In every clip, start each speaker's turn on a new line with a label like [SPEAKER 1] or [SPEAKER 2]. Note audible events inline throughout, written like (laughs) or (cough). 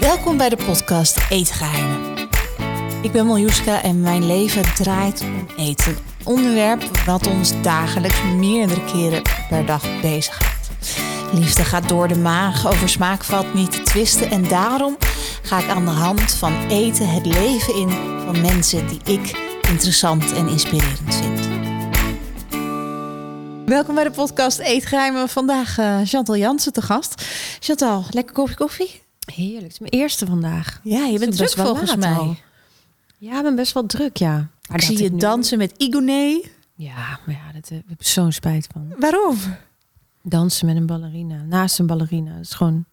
[SPEAKER 1] Welkom bij de podcast Eetgeheimen. Ik ben Miljuska en mijn leven draait om eten. Een onderwerp wat ons dagelijks meerdere keren per dag bezighoudt. Liefde gaat door de maag, over smaak valt niet te twisten. En daarom ga ik aan de hand van eten het leven in van mensen die ik interessant en inspirerend vind. Welkom bij de podcast Eetgeheimen. Vandaag eh, Chantal Jansen te gast. Chantal, lekker kopje koffie?
[SPEAKER 2] Heerlijk. Het is mijn eerste vandaag.
[SPEAKER 1] Ja, je bent
[SPEAKER 2] Het is
[SPEAKER 1] druk
[SPEAKER 2] wel
[SPEAKER 1] volgens
[SPEAKER 2] laat
[SPEAKER 1] mij.
[SPEAKER 2] al. Ja, ik ben best wel druk, ja. Maar
[SPEAKER 1] Ik
[SPEAKER 2] dat
[SPEAKER 1] zie je
[SPEAKER 2] nu-
[SPEAKER 1] dansen met Igoné.
[SPEAKER 2] Ja, maar ja, dat eh, heb ik zo'n spijt van.
[SPEAKER 1] Waarom?
[SPEAKER 2] Dansen met een ballerina, naast een ballerina. Dat is gewoon,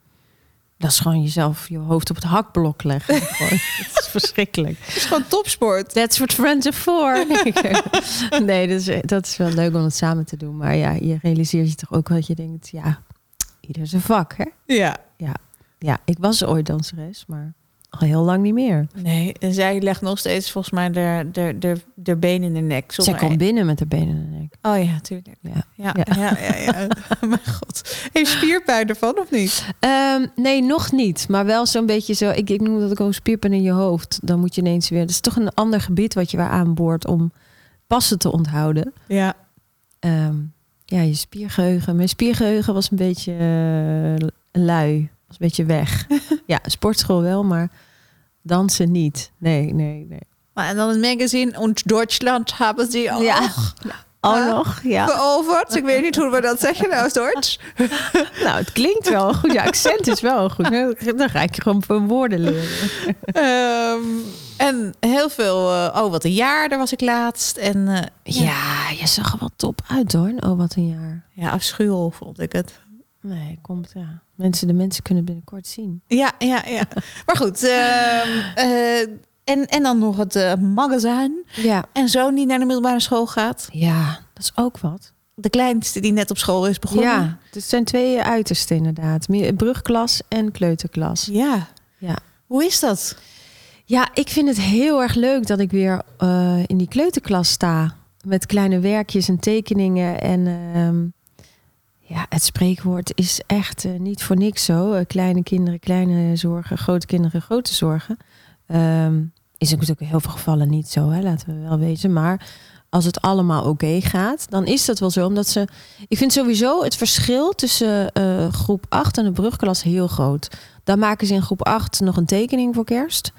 [SPEAKER 2] dat is gewoon jezelf, je hoofd op het hakblok (laughs) leggen. Gewoon. dat is verschrikkelijk.
[SPEAKER 1] Het is gewoon topsport.
[SPEAKER 2] That's what friends are for. (laughs) nee, dat is, dat is wel leuk om het samen te doen. Maar ja, je realiseert je toch ook wat je denkt, ja, ieder zijn vak, hè?
[SPEAKER 1] Ja.
[SPEAKER 2] Ja, ik was ooit danseres, maar al heel lang niet meer.
[SPEAKER 1] Nee, en zij legt nog steeds volgens mij de, de, de, de been in de nek.
[SPEAKER 2] Zij
[SPEAKER 1] zonder-
[SPEAKER 2] kwam binnen met haar benen in de nek.
[SPEAKER 1] Oh ja, tuurlijk.
[SPEAKER 2] Ja.
[SPEAKER 1] Ja, ja.
[SPEAKER 2] Ja.
[SPEAKER 1] ja, ja, (laughs) Mijn god. Heeft spierpijn ervan of niet?
[SPEAKER 2] Ehm, nee, nog niet. Maar wel zo'n beetje zo. Ik, ik noem dat ook een spierpen in je hoofd. Dan moet je ineens weer. Het is toch een ander gebied wat je weer aanboort om passen te onthouden.
[SPEAKER 1] Ja.
[SPEAKER 2] Ehm, ja, je spiergeheugen. Mijn spiergeheugen was een beetje eh, lui. Was een beetje weg. ja, sportschool wel, maar dansen niet. Nee, nee, nee.
[SPEAKER 1] Maar en dan het magazine Ons Duitsland hebben ze al
[SPEAKER 2] Ja. Oh, nog? Ja.
[SPEAKER 1] veroverd. Ik weet niet hoe we (laughs) dat zeggen nou Duits.
[SPEAKER 2] Nou, het klinkt wel goed. Je accent is wel goed. Dan ga ik je gewoon voor woorden leren.
[SPEAKER 1] Ehm, en heel veel... eh, oh, wat een jaar, daar was ik laatst. En eh,
[SPEAKER 2] Ja, je zag er wel top uit hoor. in Oh, wat een jaar.
[SPEAKER 1] ja, afschuwel vond ik het.
[SPEAKER 2] Nee, komt ja. Mensen, de mensen kunnen het binnenkort zien.
[SPEAKER 1] Ja, ja, ja. Maar goed. ehm, eh, en, en dan nog het eh, magazijn.
[SPEAKER 2] Ja.
[SPEAKER 1] En zoon die naar de middelbare school gaat.
[SPEAKER 2] Ja, dat is ook wat.
[SPEAKER 1] De kleinste die net op school is begonnen.
[SPEAKER 2] Ja, het zijn twee eh, uitersten inderdaad. Meer- Brugklas en kleuterklas.
[SPEAKER 1] ja.
[SPEAKER 2] Ja.
[SPEAKER 1] Hoe is dat?
[SPEAKER 2] Ja, ik vind het heel erg leuk dat ik weer eh, in die kleuterklas sta. Met kleine werkjes en tekeningen. En ehm, ja, het spreekwoord is echt eh, niet voor niks zo. Eh, kleine kinderen, kleine zorgen. Grote kinderen, grote zorgen. Ehm, is natuurlijk in heel veel gevallen niet zo, hè, laten we wel wezen. Maar als het allemaal oké gaat, dan is dat wel zo. Omdat ze. Ik vind sowieso het verschil tussen eh, groep 8 en de brugklas heel groot. Dan maken ze in groep 8 nog een tekening voor kerst.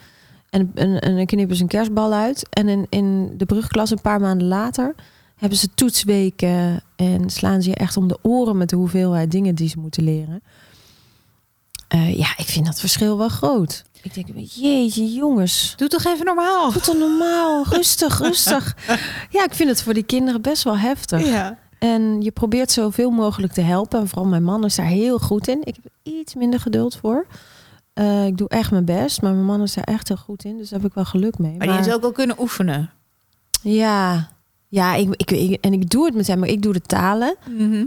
[SPEAKER 2] En, en, en dan knippen ze een kerstbal uit. En in, in de brugklas een paar maanden later hebben ze toetsweken. En slaan ze je echt om de oren met de hoeveelheid dingen die ze moeten leren. Eh, ja, ik vind dat verschil wel groot. Ik denk, jeetje jongens.
[SPEAKER 1] Doe toch even normaal.
[SPEAKER 2] Goed dan normaal. Rustig, rustig. Ja, ik vind het voor die kinderen best wel heftig.
[SPEAKER 1] Ja.
[SPEAKER 2] En je probeert zoveel mogelijk te helpen. En vooral mijn man is daar heel goed in. Ik heb er iets minder geduld voor. Eh, ik doe echt mijn best, maar mijn man is daar echt heel goed in. Dus daar heb ik wel geluk mee.
[SPEAKER 1] Maar die
[SPEAKER 2] Maar-
[SPEAKER 1] is ook wel kunnen oefenen.
[SPEAKER 2] Ja, ja ik, ik, ik- en ik doe het met hem. Maar ik doe de talen.
[SPEAKER 1] Mhm.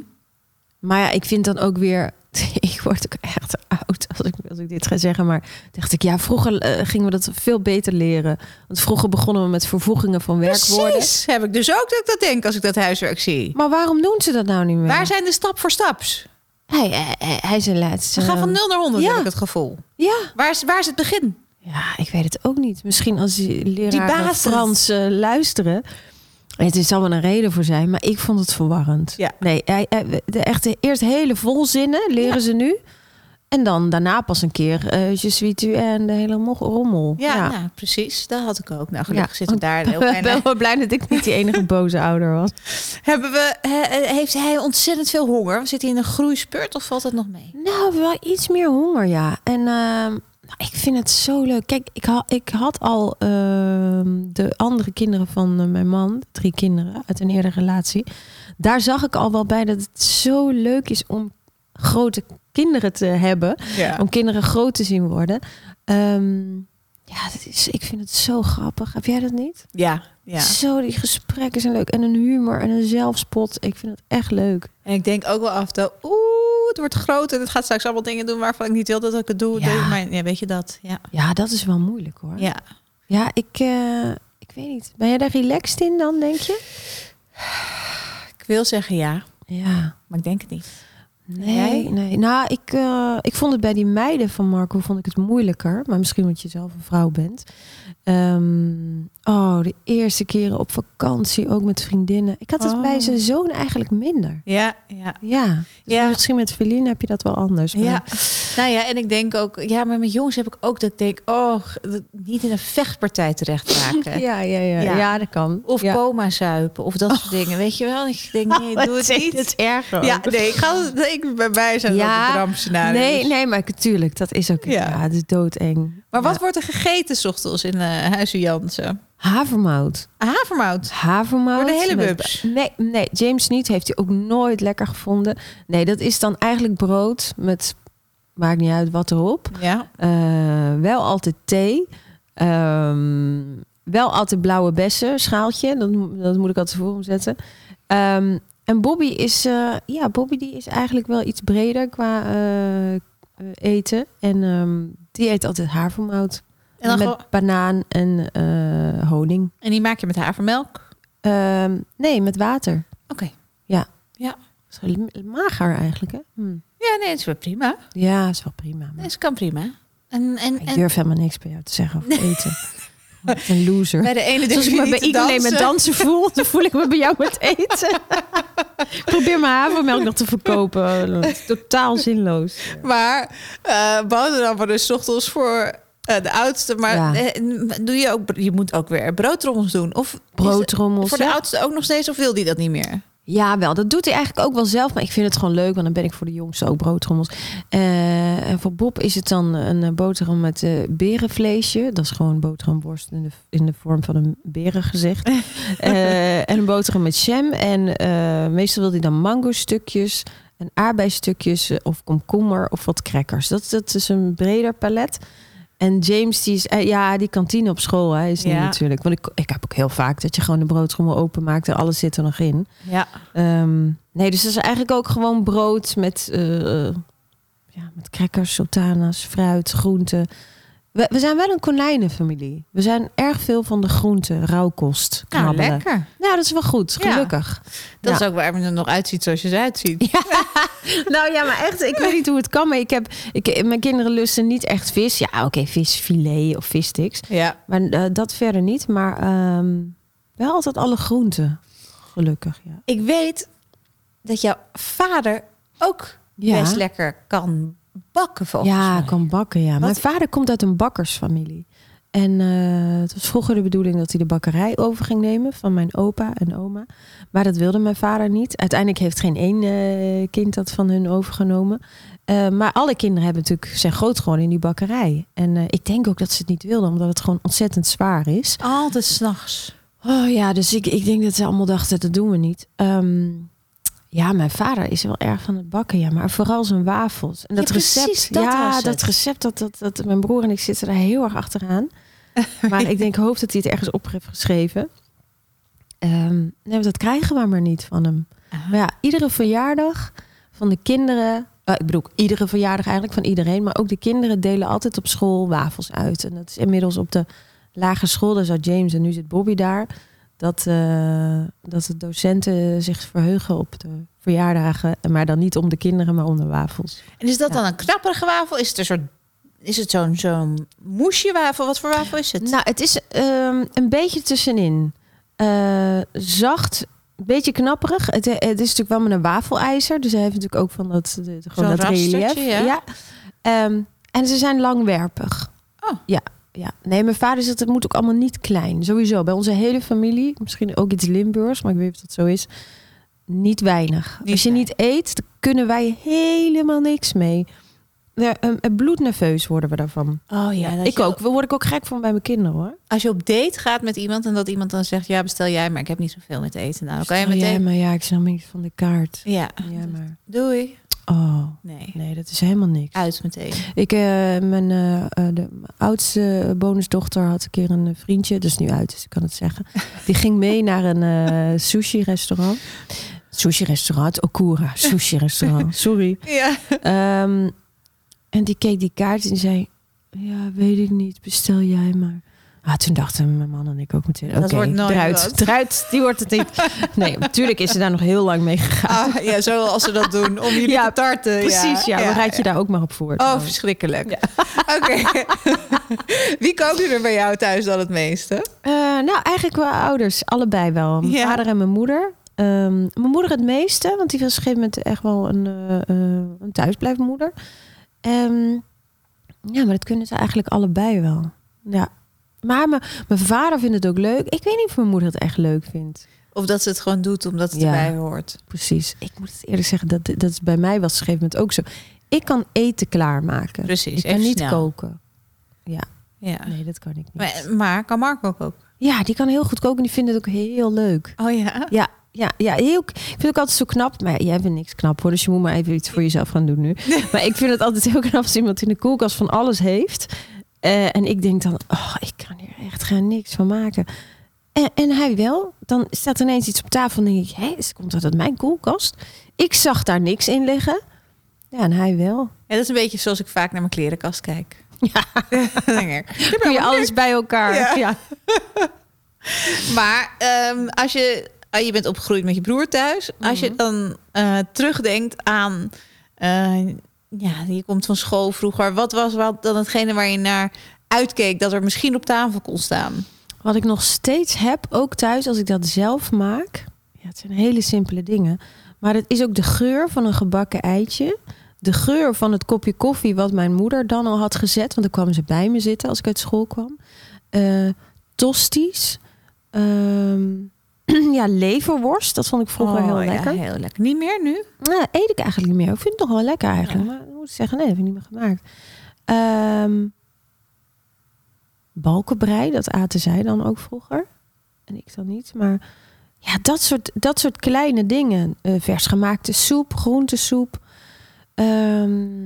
[SPEAKER 2] Maar ja, ik vind dan ook weer... (laughs) Ik word ook echt oud als ik, als ik dit ga zeggen. Maar dacht ik, ja, vroeger eh, gingen we dat veel beter leren. Want vroeger begonnen we met vervoegingen van werkwoorden.
[SPEAKER 1] Precies. Heb ik dus ook dat ik dat denk als ik dat huiswerk zie.
[SPEAKER 2] Maar waarom doen ze dat nou niet meer?
[SPEAKER 1] Waar zijn de stap voor staps?
[SPEAKER 2] Hij, hij, hij- hij is een laatste...
[SPEAKER 1] Ze gaan van
[SPEAKER 2] eh,
[SPEAKER 1] 0 naar 100,
[SPEAKER 2] ja.
[SPEAKER 1] heb ik het gevoel.
[SPEAKER 2] Ja,
[SPEAKER 1] Waar is, waar is het begin?
[SPEAKER 2] Ja, ik weet het ook niet. Misschien als die leraren
[SPEAKER 1] basis.
[SPEAKER 2] Frans eh, luisteren. Het is allemaal een reden voor zijn, maar ik vond het verwarrend.
[SPEAKER 1] Ja.
[SPEAKER 2] Nee, hij- hij- de, echt de- eerst hele volzinnen leren ze nu. En dan daarna pas een keer eh je sweet u en de hele mo- rommel. (laughs)
[SPEAKER 1] Ja, nou, precies. Dat had ik ook. Nou, gelukkig
[SPEAKER 2] Ja.
[SPEAKER 1] zitten daar een heel
[SPEAKER 2] Ik
[SPEAKER 1] kleine
[SPEAKER 2] ben wel blij dat ik niet die enige boze ouder was.
[SPEAKER 1] Hebben we, he- heeft hij ontzettend veel honger? Zit hij in een groeispurt of valt het nog mee?
[SPEAKER 2] Nou, wel iets meer honger, ja. En ehm, nou, ik vind het zo leuk. Kijk, ik, ha- ik had al ehm, de andere kinderen van eh, mijn man, drie kinderen uit een eerdere relatie. Daar zag ik al wel bij dat het zo leuk is om grote kinderen te hebben.
[SPEAKER 1] Ja.
[SPEAKER 2] Om kinderen groot te zien worden. Ehm, ja, dat is, ik vind het zo grappig. Heb jij dat niet?
[SPEAKER 1] Ja, ja.
[SPEAKER 2] Zo, die gesprekken zijn leuk. En een humor en een zelfspot. Ik vind het echt leuk.
[SPEAKER 1] En ik denk ook wel af en toe, oeh, het wordt groot en het gaat straks allemaal dingen doen waarvan ik niet wil dat ik het doe.
[SPEAKER 2] Ja.
[SPEAKER 1] Maar ja, weet je dat? Ja.
[SPEAKER 2] Ja, dat is wel moeilijk hoor.
[SPEAKER 1] ja.
[SPEAKER 2] Ja, ik, eh, ik weet niet. Ben jij daar relaxed in dan, denk je?
[SPEAKER 1] Ik wil zeggen ja,
[SPEAKER 2] Ja.
[SPEAKER 1] maar ik denk het niet.
[SPEAKER 2] Nee, nee. Nou, ik, eh, ik vond het bij die meiden van Marco vond ik het moeilijker. Maar misschien omdat je zelf een vrouw bent. Ehm, oh, de eerste keren op vakantie, ook met vriendinnen. Ik had het
[SPEAKER 1] Oh.
[SPEAKER 2] bij zijn zoon eigenlijk minder.
[SPEAKER 1] Ja, ja.
[SPEAKER 2] Ja. Dus
[SPEAKER 1] Ja.
[SPEAKER 2] Misschien met Feline heb je dat wel anders. maar-
[SPEAKER 1] Ja, nou ja, en ik denk ook, ja, maar met jongens heb ik ook dat ik denk, oh, g- dat- niet in een vechtpartij terecht raken.
[SPEAKER 2] ja, ja, ja.
[SPEAKER 1] (laughs) Ja. Oh.
[SPEAKER 2] Ja, dat kan.
[SPEAKER 1] Of
[SPEAKER 2] ja.
[SPEAKER 1] coma zuipen of dat soort dingen. Weet je wel? Ik denk, nee, doe het niet.
[SPEAKER 2] Het erger.
[SPEAKER 1] Ja, nee, ik ga ik, bij mij zijn
[SPEAKER 2] Ja,
[SPEAKER 1] dat rampscenario's.
[SPEAKER 2] Nee, nee, maar ik- tuurlijk, dat is ook.
[SPEAKER 1] Ja.
[SPEAKER 2] Ja, het is doodeng.
[SPEAKER 1] Maar wat
[SPEAKER 2] Ja.
[SPEAKER 1] wordt er gegeten 's ochtends in eh Huizen Jansen?
[SPEAKER 2] Havermout.
[SPEAKER 1] Havermout.
[SPEAKER 2] Havermout.
[SPEAKER 1] Voor de hele
[SPEAKER 2] met-
[SPEAKER 1] bubs.
[SPEAKER 2] Nee, nee, James niet. Heeft hij ook nooit lekker gevonden. Nee, dat is dan eigenlijk brood met, maakt niet uit wat erop.
[SPEAKER 1] Ja.
[SPEAKER 2] Eh, wel altijd thee. Ehm, wel altijd blauwe bessen, schaaltje. Dat, mo- dat moet ik altijd voor hem zetten. Ehm, en Bobby is, eh, ja, Bobby die is eigenlijk wel iets breder qua eh, eh, eten. En ehm, die eet altijd havermout.
[SPEAKER 1] En, dan
[SPEAKER 2] met
[SPEAKER 1] gewoon-
[SPEAKER 2] banaan en eh, honing.
[SPEAKER 1] en die maak je met havermelk? Oké.
[SPEAKER 2] Ehm, nee, met water. Zo l- mager eigenlijk, hè? Hm.
[SPEAKER 1] Ja, nee, het is wel prima.
[SPEAKER 2] Ja, is wel prima.
[SPEAKER 1] Nee,
[SPEAKER 2] maar
[SPEAKER 1] het kan prima. En, en,
[SPEAKER 2] Ik
[SPEAKER 1] en
[SPEAKER 2] durf helemaal niks bij jou te zeggen over eten. Wat een loser.
[SPEAKER 1] bij de ene
[SPEAKER 2] Zoals
[SPEAKER 1] dus
[SPEAKER 2] ik me bij iedereen met dansen voel, dan voel ik me bij jou met eten. (laughs) Ik Probeer mijn havermelk nog te verkopen. Dat is Totaal zinloos.
[SPEAKER 1] Maar eh boterhammen dus 's ochtends voor eh, de oudste. Maar
[SPEAKER 2] Ja.
[SPEAKER 1] eh, n- doe je ook, br- je moet ook weer broodtrommels doen. Of is het
[SPEAKER 2] Broodtrommels.
[SPEAKER 1] voor de oudste ook nog steeds, of wil die dat niet meer?
[SPEAKER 2] Ja, wel. Dat doet hij eigenlijk ook wel zelf. Maar ik vind het gewoon leuk, want dan ben ik voor de jongste ook broodtrommels. Eh, en voor Bob is het dan een eh, boterham met eh, berenvleesje. Dat is gewoon boterhamworst in de, in de vorm van een berengezicht. Eh, en een boterham met jam. En eh, meestal wil hij dan mango-stukjes en aardbeistukjes eh, of komkommer of wat crackers. Dat, dat is een breder palet. En James, die is, eh, ja, die kantine op school hè, is niet
[SPEAKER 1] Ja.
[SPEAKER 2] natuurlijk. Want ik, ik heb ook heel vaak dat je gewoon de broodtrommel openmaakt en alles zit er nog in.
[SPEAKER 1] Ja.
[SPEAKER 2] Ehm, nee, dus dat is eigenlijk ook gewoon brood met, eh, eh, ja, met crackers, sultanas, fruit, groenten. We, we zijn wel een konijnenfamilie. We zijn erg veel van de groenten, rauwkost,
[SPEAKER 1] Nou,
[SPEAKER 2] knabbelen.
[SPEAKER 1] lekker.
[SPEAKER 2] Nou, dat is wel goed,
[SPEAKER 1] Ja.
[SPEAKER 2] gelukkig. Ja.
[SPEAKER 1] Dat is ook waar men er nog uitziet zoals je ze
[SPEAKER 2] (laughs)
[SPEAKER 1] uitziet.
[SPEAKER 2] nou ja, maar echt, ik weet niet hoe het kan. Maar ik heb, ik, mijn kinderen lusten niet echt vis. Ja, oké, visfilet of vissticks.
[SPEAKER 1] Ja.
[SPEAKER 2] Maar eh, dat verder niet. Maar ehm, wel altijd alle groenten, gelukkig. Ja.
[SPEAKER 1] Ik weet dat jouw vader ook
[SPEAKER 2] Ja.
[SPEAKER 1] best lekker kan bakken volgens
[SPEAKER 2] ja,
[SPEAKER 1] mij.
[SPEAKER 2] kan bakken, ja. Mijn vader komt uit een bakkersfamilie. En eh, het was vroeger de bedoeling dat hij de bakkerij over ging nemen van mijn opa en oma. Maar dat wilde mijn vader niet. Uiteindelijk heeft geen één eh, kind dat van hun overgenomen. Eh, maar alle kinderen hebben natuurlijk, zijn groot gewoon in die bakkerij. En eh, ik denk ook dat ze het niet wilden, omdat het gewoon ontzettend zwaar is.
[SPEAKER 1] Altijd s'nachts.
[SPEAKER 2] Oh ja, dus ik, ik denk dat ze allemaal dachten, dat doen we niet. Ehm, ja, mijn vader is wel erg van het bakken, ja. Maar vooral zijn wafels. En
[SPEAKER 1] Ja,
[SPEAKER 2] dat
[SPEAKER 1] precies,
[SPEAKER 2] recept.
[SPEAKER 1] dat
[SPEAKER 2] ja,
[SPEAKER 1] was het.
[SPEAKER 2] dat recept, dat, dat, dat, mijn broer en ik zitten daar heel erg
[SPEAKER 1] (laughs)
[SPEAKER 2] achteraan. Maar ik denk, hoop dat hij het ergens op heeft geschreven. Ehm, nee, want dat krijgen we maar niet van hem.
[SPEAKER 1] Ah.
[SPEAKER 2] Maar ja, iedere verjaardag van de kinderen... eh, ik bedoel, iedere verjaardag eigenlijk van iedereen. Maar ook de kinderen delen altijd op school wafels uit. En dat is inmiddels op de lagere school, daar zat James en nu zit Bobby daar. Dat, eh, dat de docenten zich verheugen op de verjaardagen. Maar dan niet om de kinderen, maar om de wafels.
[SPEAKER 1] En is dat
[SPEAKER 2] Ja.
[SPEAKER 1] dan een knapperige wafel? Is het, een soort, is het zo'n zo'n moesje wafel? Wat voor wafel is het?
[SPEAKER 2] Nou, het is ehm, een beetje tussenin. Eh, zacht, een beetje knapperig. Het, eh, het is natuurlijk wel met een wafelijzer. Dus hij heeft natuurlijk ook van dat, de- de- gewoon
[SPEAKER 1] Zo'n
[SPEAKER 2] dat relief.
[SPEAKER 1] rastertje, ja.
[SPEAKER 2] Ehm, en ze zijn langwerpig.
[SPEAKER 1] Oh.
[SPEAKER 2] Ja, ja. Nee, mijn vader zegt het moet ook allemaal niet klein. Sowieso, bij onze hele familie. Misschien ook iets Limburgs, maar ik weet niet of dat zo is. Niet weinig.
[SPEAKER 1] Niet
[SPEAKER 2] Als je
[SPEAKER 1] weinig.
[SPEAKER 2] niet eet, dan kunnen wij helemaal niks mee. Ja, ehm, bloednerveus worden we daarvan.
[SPEAKER 1] oh ja, dat
[SPEAKER 2] Ik
[SPEAKER 1] je-
[SPEAKER 2] ook. Daar word ik ook gek van bij mijn kinderen hoor.
[SPEAKER 1] Als je op date gaat met iemand en dat iemand dan zegt: Ja, bestel jij, maar ik heb niet zoveel met eten. Nou, dan kan je
[SPEAKER 2] Stel jij
[SPEAKER 1] meteen.
[SPEAKER 2] maar Oh, ja, ik snap niks van de kaart.
[SPEAKER 1] Ja,
[SPEAKER 2] Ja, maar.
[SPEAKER 1] doei.
[SPEAKER 2] Oh,
[SPEAKER 1] Nee,
[SPEAKER 2] nee, dat is helemaal niks.
[SPEAKER 1] uit meteen.
[SPEAKER 2] Ik, eh, mijn eh, eh, de mijn oudste bonusdochter had een keer een eh, vriendje, dus nu uit, dus ik kan het zeggen.
[SPEAKER 1] (laughs)
[SPEAKER 2] Die ging mee naar een eh, sushi-restaurant. Sushi-restaurant, Okura, sushi-restaurant, sorry.
[SPEAKER 1] Ja.
[SPEAKER 2] Ehm, en die keek die kaart en die zei: Ja, weet ik niet, bestel jij maar. Ah, toen dachten mijn man en ik ook meteen, oké,
[SPEAKER 1] Dat wordt nooit
[SPEAKER 2] eruit, (laughs)
[SPEAKER 1] wat.
[SPEAKER 2] eruit, die wordt het
[SPEAKER 1] (laughs)
[SPEAKER 2] niet. Nee, natuurlijk is ze daar nog heel lang mee gegaan.
[SPEAKER 1] Ah, ja, zoals ze dat doen, om jullie
[SPEAKER 2] Ja,
[SPEAKER 1] te tarten.
[SPEAKER 2] Precies, ja, dan raad je daar ook maar op voor.
[SPEAKER 1] Oh, verschrikkelijk. (laughs) Oké. Wie kookte er bij jou thuis dan het meeste?
[SPEAKER 2] Eh, nou, eigenlijk wel ouders, allebei wel. Mijn
[SPEAKER 1] Ja.
[SPEAKER 2] vader en mijn moeder. Ehm, mijn moeder het meeste, want die was op een gegeven moment echt wel een, eh, eh, een thuisblijfmoeder. Ehm, ja, maar dat kunnen ze eigenlijk allebei wel. Ja. Maar mijn, mijn vader vindt het ook leuk. Ik weet niet of mijn moeder het echt leuk vindt.
[SPEAKER 1] Of dat ze het gewoon doet omdat het
[SPEAKER 2] Ja.
[SPEAKER 1] erbij hoort.
[SPEAKER 2] Precies. Ik moet het eerlijk zeggen, dat, dat is bij mij was op een gegeven moment ook zo. Ik kan eten klaarmaken.
[SPEAKER 1] Precies,
[SPEAKER 2] Ik kan
[SPEAKER 1] even
[SPEAKER 2] niet
[SPEAKER 1] snel.
[SPEAKER 2] koken.
[SPEAKER 1] Ja.
[SPEAKER 2] Nee, dat kan ik niet.
[SPEAKER 1] Maar, eh, maar kan Marco koken?
[SPEAKER 2] Ja, die kan heel goed koken. Die vindt het ook heel leuk.
[SPEAKER 1] Oh ja.
[SPEAKER 2] Ja, ja, ja heel, ik vind het ook altijd zo knap. Maar jij vindt niks knap hoor, dus je moet maar even iets voor jezelf gaan doen nu. Maar ik vind het altijd heel knap als iemand in de koelkast van alles heeft. Eh, en ik denk dan, oh, ik kan hier echt geen niks van maken. En, en hij wel. Dan staat ineens iets op tafel en denk ik, hé, is- komt dat uit mijn koelkast? Ik zag daar niks in liggen. Ja, en hij wel.
[SPEAKER 1] Ja, dat is een beetje zoals ik vaak naar mijn klerenkast kijk. (laughs)
[SPEAKER 2] Ja. Kun je alles bij elkaar.
[SPEAKER 1] Ja.
[SPEAKER 2] Ja.
[SPEAKER 1] Maar ehm, als je, ah, je bent opgegroeid met je broer thuis. Als je dan eh, terugdenkt aan, eh, ja, je komt van school vroeger. Wat was wat dan hetgene waar je naar uitkeek dat er misschien op tafel kon staan?
[SPEAKER 2] Wat ik nog steeds heb, ook thuis, als ik dat zelf maak. Ja, het zijn hele simpele dingen. Maar het is ook de geur van een gebakken eitje. De geur van het kopje koffie wat mijn moeder dan al had gezet. Want dan kwamen ze bij me zitten als ik uit school kwam. Eh tosties. Ehm, (clears throat) ja, leverworst. Dat vond ik vroeger heel lekker.
[SPEAKER 1] Ja, heel lekker. Niet meer nu?
[SPEAKER 2] Nou, dat eet ik eigenlijk niet meer. Ik vind het nog wel lekker eigenlijk. Maar ik moet zeggen, nee, dat heb ik niet meer gemaakt. Ehm balkenbrei, dat aten zij dan ook vroeger. En ik dan niet. Maar ja, dat soort, dat soort kleine dingen. Eh, vers gemaakte soep, groentesoep. Ehm,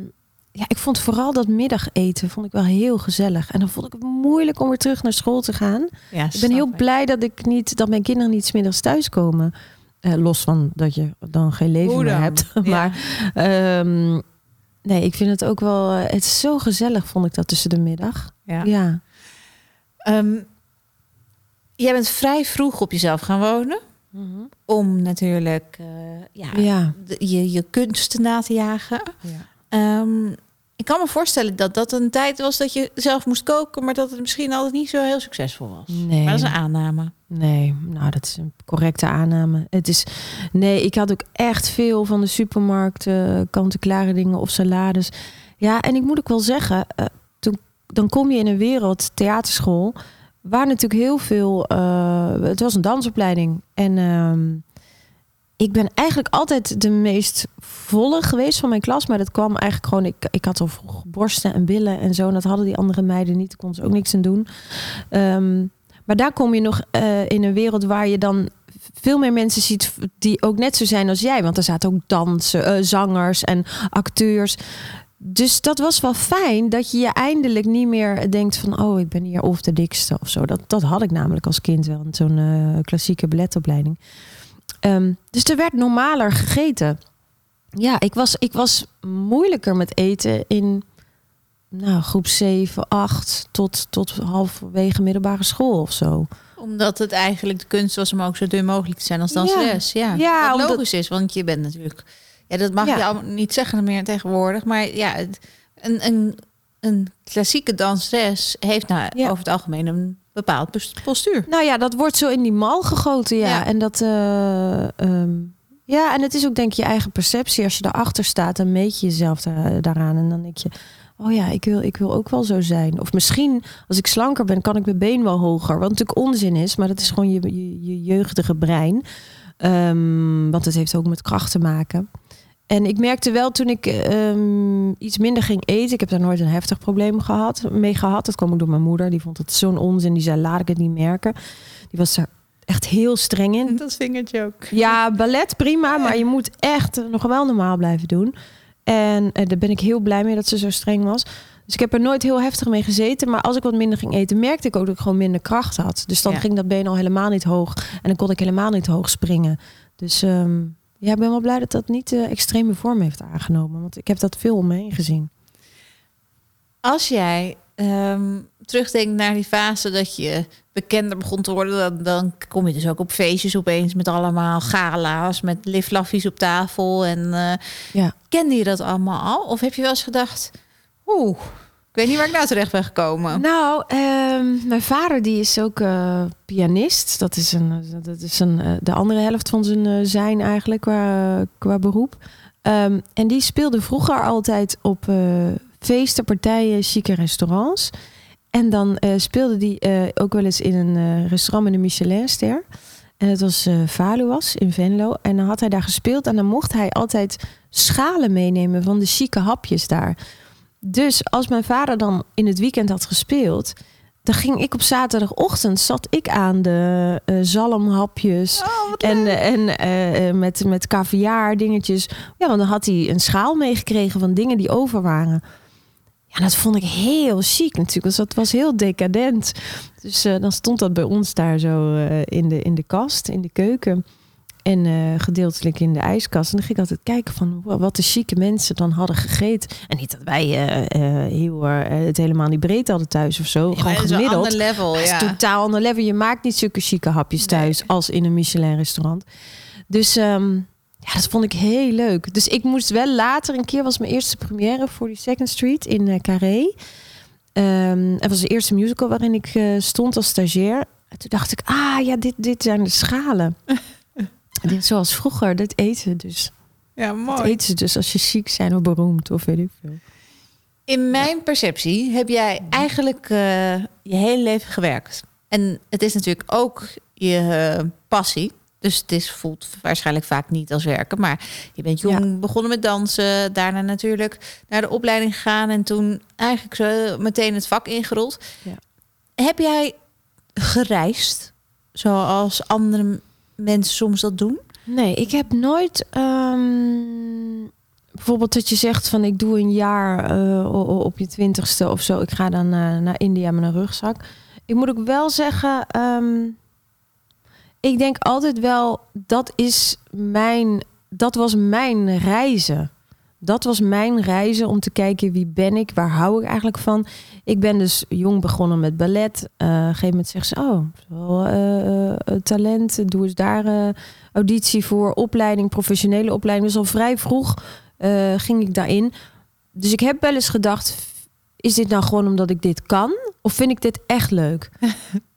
[SPEAKER 2] ja, ik vond vooral dat middageten vond ik wel heel gezellig. En dan vond ik het moeilijk om weer terug naar school te gaan.
[SPEAKER 1] Ja,
[SPEAKER 2] Ik ben heel blij dat, ik niet, dat mijn kinderen niet 's middags thuiskomen. Eh, los van dat je dan geen leven meer hebt. (laughs) Maar ehm, nee, ik vind het ook wel... eh, Het is zo gezellig, vond ik dat tussen de middag. Ja.
[SPEAKER 1] Ehm, jij bent vrij vroeg op jezelf gaan wonen.
[SPEAKER 2] Mhm.
[SPEAKER 1] Om natuurlijk eh, ja,
[SPEAKER 2] Ja.
[SPEAKER 1] de- je, je kunst na te jagen.
[SPEAKER 2] Ja.
[SPEAKER 1] Ehm, ik kan me voorstellen dat dat een tijd was dat je zelf moest koken, maar dat het misschien altijd niet zo heel succesvol was.
[SPEAKER 2] Nee.
[SPEAKER 1] Maar dat is een aanname.
[SPEAKER 2] Nee, nou dat is een correcte aanname. Het is, nee, ik had ook echt veel van de supermarkt eh, kant-en-klare dingen of salades. Ja, en ik moet ook wel zeggen, eh, toen, dan kom je in een wereld, theaterschool, waar natuurlijk heel veel, eh, het was een dansopleiding. En ehm, ik ben eigenlijk altijd de meest volle geweest van mijn klas, maar dat kwam eigenlijk gewoon, ik, ik had al vroeg borsten en billen en zo, en dat hadden die andere meiden niet, daar kon ze ook niks aan doen. Ehm, maar daar kom je nog eh, in een wereld waar je dan veel meer mensen ziet die ook net zo zijn als jij. Want er zaten ook dansen, eh, zangers en acteurs. Dus dat was wel fijn dat je je eindelijk niet meer denkt van... oh, ik ben hier of de dikste of zo. Dat, dat had ik namelijk als kind wel, in zo'n eh, klassieke balletopleiding. Ehm, dus er werd normaler gegeten. Ja, ik was, ik was moeilijker met eten in nou, groep 7, 8 tot, tot halverwege middelbare school of zo.
[SPEAKER 1] Omdat het eigenlijk de kunst was om ook zo dun mogelijk te zijn als danseres. Ja,
[SPEAKER 2] Ja,
[SPEAKER 1] Wat
[SPEAKER 2] omdat-
[SPEAKER 1] logisch is, want je bent natuurlijk... Ja, dat mag
[SPEAKER 2] Ja.
[SPEAKER 1] je allemaal niet zeggen meer tegenwoordig. Maar ja, het- een, een, een klassieke danseres heeft nou
[SPEAKER 2] Ja.
[SPEAKER 1] over het algemeen een bepaald pos- postuur.
[SPEAKER 2] Nou ja, dat wordt zo in die mal gegoten, ja.
[SPEAKER 1] Ja.
[SPEAKER 2] En dat, eh, ehm, ja, en het is ook denk ik je eigen perceptie. Als je daarachter staat, dan meet je jezelf da- daaraan. En dan denk je, oh ja, ik wil, ik wil ook wel zo zijn. Of misschien, als ik slanker ben, kan ik mijn been wel hoger. Wat natuurlijk onzin is, maar dat is gewoon je, je, je jeugdige brein. Ehm, want het heeft ook met kracht te maken. En ik merkte wel toen ik ehm, iets minder ging eten. Ik heb daar nooit een heftig probleem gehad, mee gehad. Dat kwam ook door mijn moeder. Die vond het zo'n onzin. Die zei, laat ik het niet merken. Die was daar echt heel streng in.
[SPEAKER 1] (laughs) Dat vingertje ook.
[SPEAKER 2] Ja, ballet prima, maar je moet echt nog wel normaal blijven doen. En eh, daar ben ik heel blij mee dat ze zo streng was. Dus ik heb er nooit heel heftig mee gezeten. Maar als ik wat minder ging eten, merkte ik ook dat ik gewoon minder kracht had. Dus dan
[SPEAKER 1] Ja.
[SPEAKER 2] ging dat been al helemaal niet hoog. En dan kon ik helemaal niet hoog springen. Dus ehm, ja, ik ben wel blij dat dat niet de extreme vorm heeft aangenomen. Want ik heb dat veel om me heen gezien.
[SPEAKER 1] Als jij ehm, terugdenkt naar die fase dat je bekender begon te worden, dan, dan kom je dus ook op feestjes opeens met allemaal gala's, met liflaffies op tafel. En eh,
[SPEAKER 2] Ja.
[SPEAKER 1] kende je dat allemaal al? Of heb je wel eens gedacht, oeh, ik weet niet waar ik nou terecht ben gekomen?
[SPEAKER 2] Nou, ehm, mijn vader die is ook eh, pianist. Dat is, een, dat is een, eh, de andere helft van zijn eh, zijn eigenlijk qua, qua beroep. Ehm, en die speelde vroeger altijd op eh, feesten, partijen, chique restaurants. En dan eh, speelde die eh, ook wel eens in een eh, restaurant met een Michelinster. En dat was eh Valuas in Venlo. En dan had hij daar gespeeld. En dan mocht hij altijd schalen meenemen van de chique hapjes daar. Dus als mijn vader dan in het weekend had gespeeld... dan ging ik op zaterdagochtend... zat ik aan de eh, zalmhapjes...
[SPEAKER 1] Oh, wat
[SPEAKER 2] En,
[SPEAKER 1] leuk.
[SPEAKER 2] eh, en eh, eh, met, met caviar dingetjes. Ja, want dan had hij een schaal meegekregen van dingen die over waren. Ja, dat vond ik heel chic natuurlijk. Dus dat was heel decadent. Dus eh, dan stond dat bij ons daar zo eh, in, de, in de kast, in de keuken. En eh, gedeeltelijk in de ijskast. En dan ging ik altijd kijken van wa- wat de chique mensen dan hadden gegeten. En niet dat wij eh, eh, heel, eh, het helemaal niet breed hadden thuis of zo.
[SPEAKER 1] Ja,
[SPEAKER 2] gewoon
[SPEAKER 1] dat is een
[SPEAKER 2] gemiddeld.
[SPEAKER 1] ander level,
[SPEAKER 2] Dat is
[SPEAKER 1] Oh, ja.
[SPEAKER 2] totaal ander level. Je maakt niet zulke chique hapjes thuis als in een Michelin restaurant. Dus ehm, ja, dat vond ik heel leuk. Dus ik moest wel later, een keer was mijn eerste première voor die Second Street in eh, Carré. Ehm het was de eerste musical waarin ik eh, stond als stagiair. En toen dacht ik, ah ja, dit, dit zijn de schalen. dit, zoals vroeger, dat eten ze dus.
[SPEAKER 1] Ja,
[SPEAKER 2] Dat
[SPEAKER 1] mooi.
[SPEAKER 2] eten ze dus als je ziek zijn of beroemd of weet ik veel.
[SPEAKER 1] In mijn perceptie heb jij
[SPEAKER 2] Mhm.
[SPEAKER 1] eigenlijk eh, je hele leven gewerkt. En het is natuurlijk ook je eh, passie. Dus het is, voelt waarschijnlijk vaak niet als werken. Maar je bent jong begonnen met dansen. Daarna natuurlijk naar de opleiding gegaan. En toen eigenlijk zo meteen het vak ingerold.
[SPEAKER 2] Ja.
[SPEAKER 1] Heb jij gereisd? Zoals andere m- mensen soms dat doen?
[SPEAKER 2] Nee, ik heb nooit. ehm, bijvoorbeeld dat je zegt van ik doe een jaar eh, o- o- op je twintigste of zo. Ik ga dan eh, naar India met een rugzak. Ik moet ook wel zeggen. ehm, ik denk altijd wel dat is mijn. Dat was mijn reizen. Dat was mijn reizen om te kijken wie ben ik, waar hou ik eigenlijk van. Ik ben dus jong begonnen met ballet. Eh, op een gegeven moment zegt ze, oh, wel, eh, eh, talent, doe eens daar eh, auditie voor opleiding, professionele opleiding. Dus al vrij vroeg eh, ging ik daarin. Dus ik heb wel eens gedacht, f- is dit nou gewoon omdat ik dit kan? Of vind ik dit echt leuk?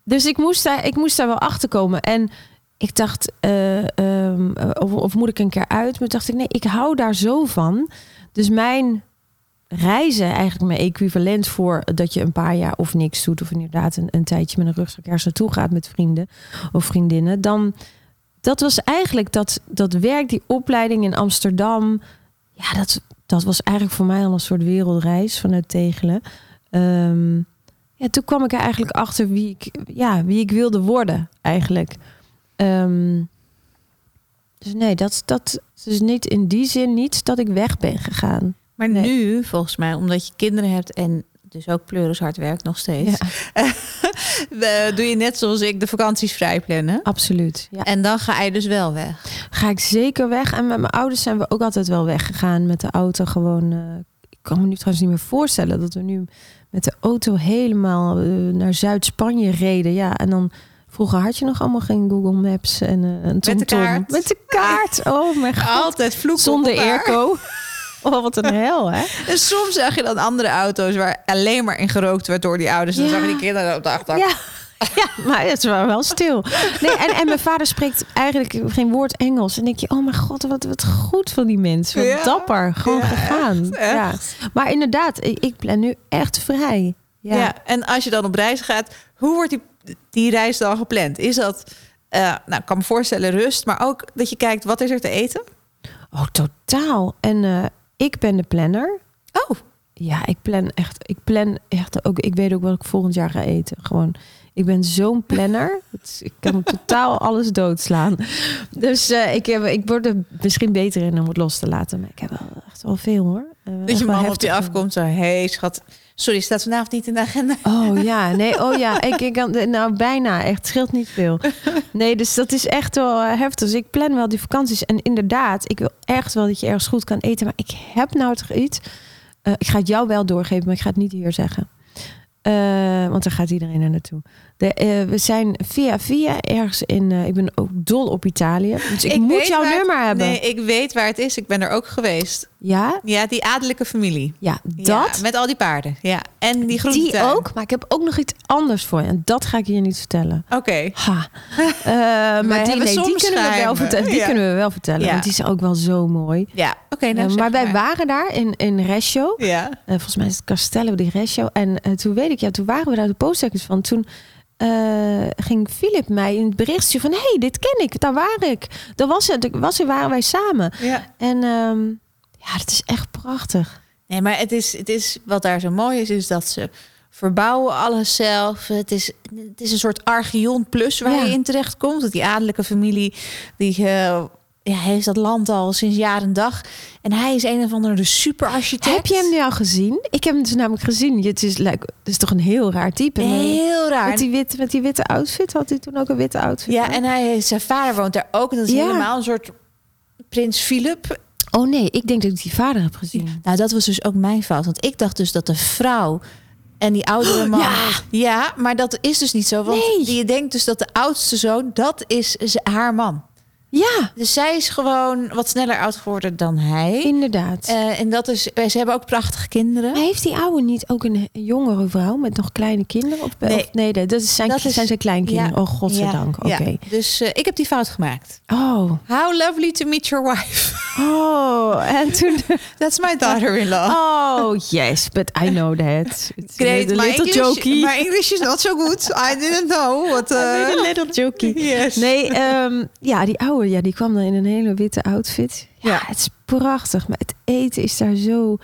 [SPEAKER 2] dus ik moest, daar, ik moest daar wel achter komen. En ik dacht, eh, ehm, eh, of, of moet ik een keer uit? Maar toen dacht ik, nee, ik hou daar zo van. Dus mijn reizen, eigenlijk mijn equivalent voor dat je een paar jaar of niks doet... of inderdaad een, een tijdje met een rugzak ergens naartoe gaat met vrienden of vriendinnen... dan dat was eigenlijk dat, dat werk, die opleiding in Amsterdam. Ja, dat, dat was eigenlijk voor mij al een soort wereldreis vanuit Tegelen. Ehm, ja, toen kwam ik er eigenlijk achter wie ik, ja, wie ik wilde worden, eigenlijk. Ehm, dus nee, dat, dat is niet in die zin niet dat ik weg ben gegaan.
[SPEAKER 1] Maar
[SPEAKER 2] Nee.
[SPEAKER 1] nu, volgens mij, omdat je kinderen hebt en dus ook pleuris hard werkt nog steeds.
[SPEAKER 2] Ja,
[SPEAKER 1] Eh, doe je net zoals ik de vakanties vrij plannen.
[SPEAKER 2] absoluut. Ja.
[SPEAKER 1] En dan ga je dus wel weg.
[SPEAKER 2] ga ik zeker weg. En met mijn ouders zijn we ook altijd wel weggegaan met de auto. Gewoon, eh, ik kan me nu trouwens niet meer voorstellen dat we nu met de auto helemaal eh, naar Zuid-Spanje reden. Ja, en dan vroeger had je nog allemaal geen Google Maps en eh, een TomTom.
[SPEAKER 1] kaart.
[SPEAKER 2] Met de kaart. Oh mijn god.
[SPEAKER 1] Altijd vloeken
[SPEAKER 2] Zonder
[SPEAKER 1] op elkaar.
[SPEAKER 2] airco. Oh, wat een hel, hè?
[SPEAKER 1] En soms zag je dan andere auto's waar alleen maar in gerookt werd door die ouders. Dan
[SPEAKER 2] Ja.
[SPEAKER 1] zagen die kinderen op de achterbank.
[SPEAKER 2] Ja. ja, maar het was wel stil. Nee, en, en mijn vader spreekt eigenlijk geen woord Engels. En denk je, oh mijn god, wat, wat goed van die mensen. Wat
[SPEAKER 1] Ja.
[SPEAKER 2] dapper, gewoon
[SPEAKER 1] Ja,
[SPEAKER 2] gegaan. Ja.
[SPEAKER 1] Echt.
[SPEAKER 2] Maar inderdaad, ik, ik ben nu echt vrij.
[SPEAKER 1] Ja. En als je dan op reis gaat, hoe wordt die, die reis dan gepland? Is dat, eh, nou, ik kan me voorstellen rust, maar ook dat je kijkt wat is er te eten?
[SPEAKER 2] Oh, totaal. En eh, ik ben de planner.
[SPEAKER 1] Oh,
[SPEAKER 2] Ja, ik plan echt. Ik plan echt ook. Ik weet ook wat ik volgend jaar ga eten. Gewoon. Ik ben zo'n
[SPEAKER 1] (laughs)
[SPEAKER 2] planner. Het is- ik kan totaal alles doodslaan. Dus eh, ik, heb, ik word er misschien beter in om het los te laten. Maar ik heb wel echt wel veel hoor. Eh,
[SPEAKER 1] dat
[SPEAKER 2] echt
[SPEAKER 1] je
[SPEAKER 2] wel
[SPEAKER 1] man op
[SPEAKER 2] heftig
[SPEAKER 1] je
[SPEAKER 2] wel.
[SPEAKER 1] afkomt. Zo, hey, schat, sorry, staat vanavond niet in de agenda.
[SPEAKER 2] Oh ja, nee, oh ja. Ik, ik kan, nou, bijna echt. Het scheelt niet veel. Nee, dus dat is echt wel eh, heftig. Dus ik plan wel die vakanties. En inderdaad, ik wil echt wel dat je ergens goed kan eten. Maar ik heb nou toch iets. Eh, ik ga het jou wel doorgeven, maar ik ga het niet hier zeggen. Eh, want daar gaat iedereen er naartoe. De, eh, we zijn via via ergens in... eh, ik ben ook dol op Italië. Dus ik,
[SPEAKER 1] Ik
[SPEAKER 2] moet
[SPEAKER 1] weet
[SPEAKER 2] jouw
[SPEAKER 1] waar het-
[SPEAKER 2] nummer hebben.
[SPEAKER 1] Nee, ik weet waar het is. Ik ben er ook geweest.
[SPEAKER 2] Ja?
[SPEAKER 1] Ja, die adellijke familie.
[SPEAKER 2] Ja,
[SPEAKER 1] Ja,
[SPEAKER 2] dat.
[SPEAKER 1] met al die paarden. Ja. En die groente.
[SPEAKER 2] die ook. Maar ik heb ook nog iets anders voor je. En dat ga ik je niet vertellen.
[SPEAKER 1] Oké.
[SPEAKER 2] Ha.
[SPEAKER 1] (laughs)
[SPEAKER 2] Eh, maar die,
[SPEAKER 1] hebben
[SPEAKER 2] nee, die
[SPEAKER 1] soms
[SPEAKER 2] kunnen we wel
[SPEAKER 1] geheimen.
[SPEAKER 2] vertellen. Die
[SPEAKER 1] Ja.
[SPEAKER 2] kunnen we wel vertellen.
[SPEAKER 1] Ja.
[SPEAKER 2] Want die is ook wel zo mooi.
[SPEAKER 1] Ja. Oké, nou,
[SPEAKER 2] Eh,
[SPEAKER 1] zeg
[SPEAKER 2] maar wij
[SPEAKER 1] maar.
[SPEAKER 2] waren daar in, in Reggio.
[SPEAKER 1] Ja.
[SPEAKER 2] Eh, volgens mij is het Castello di Reggio. En eh, toen weet ik, ja, toen waren we daar de postzekkers van. Toen eh, ging Philip mij een berichtje van... hey, dit ken ik, daar waar ik. Daar was het, daar was, daar waren wij samen.
[SPEAKER 1] ja.
[SPEAKER 2] En ehm, ja, dat is echt prachtig.
[SPEAKER 1] Nee, maar het is, het is, wat daar zo mooi is, is dat ze verbouwen alles zelf. Het is, het is een soort Archeon plus waar
[SPEAKER 2] Ja.
[SPEAKER 1] je in terecht komt. Dat die adellijke familie, die eh, ja, heeft dat land al sinds jaar en dag. En hij is een of andere superarchitect.
[SPEAKER 2] Heb je hem nu al gezien? Ik heb hem dus namelijk gezien. Het is, lijk- het is toch een heel raar type.
[SPEAKER 1] Heel raar.
[SPEAKER 2] Met die, witte, met die witte outfit had hij toen ook een witte outfit.
[SPEAKER 1] Ja,
[SPEAKER 2] aan?
[SPEAKER 1] en hij, zijn vader woont daar ook. En dat is
[SPEAKER 2] Ja.
[SPEAKER 1] helemaal een soort prins Philip.
[SPEAKER 2] Oh nee, ik denk dat ik die vader heb gezien.
[SPEAKER 1] Nou, dat was dus ook mijn fout. Want ik dacht dus dat de vrouw en die oudere man...
[SPEAKER 2] ja.
[SPEAKER 1] Oh, Ja, maar dat is dus niet zo. Want
[SPEAKER 2] Nee.
[SPEAKER 1] je denkt dus dat de oudste zoon, dat is ze- haar man.
[SPEAKER 2] Ja,
[SPEAKER 1] Dus zij is gewoon wat sneller oud geworden dan hij.
[SPEAKER 2] inderdaad.
[SPEAKER 1] Eh, en dat is, ze hebben ook prachtige kinderen.
[SPEAKER 2] Maar heeft die oude niet ook een jongere vrouw met nog kleine kinderen? Of,
[SPEAKER 1] Nee.
[SPEAKER 2] of, nee dat is zijn,
[SPEAKER 1] Dat is-
[SPEAKER 2] zijn zijn kleinkinderen.
[SPEAKER 1] Ja.
[SPEAKER 2] Oh, godzijdank.
[SPEAKER 1] Ja,
[SPEAKER 2] Oké.
[SPEAKER 1] ja. Dus eh, ik heb die fout gemaakt.
[SPEAKER 2] Oh.
[SPEAKER 1] How lovely to meet your wife.
[SPEAKER 2] Oh. En toen...
[SPEAKER 1] (laughs) That's my daughter-in-law.
[SPEAKER 2] Oh, yes. But I know that. It's
[SPEAKER 1] Great,
[SPEAKER 2] a
[SPEAKER 1] my
[SPEAKER 2] little
[SPEAKER 1] English,
[SPEAKER 2] jokey.
[SPEAKER 1] My English is not so good. I didn't know (laughs) what.
[SPEAKER 2] I made
[SPEAKER 1] Uh,
[SPEAKER 2] a little jokey.
[SPEAKER 1] (laughs) yes.
[SPEAKER 2] Nee, ehm, ja, die oude, ja, die kwam dan in een hele witte outfit. Ja,
[SPEAKER 1] Ja.
[SPEAKER 2] het is prachtig. Maar het eten is daar zo,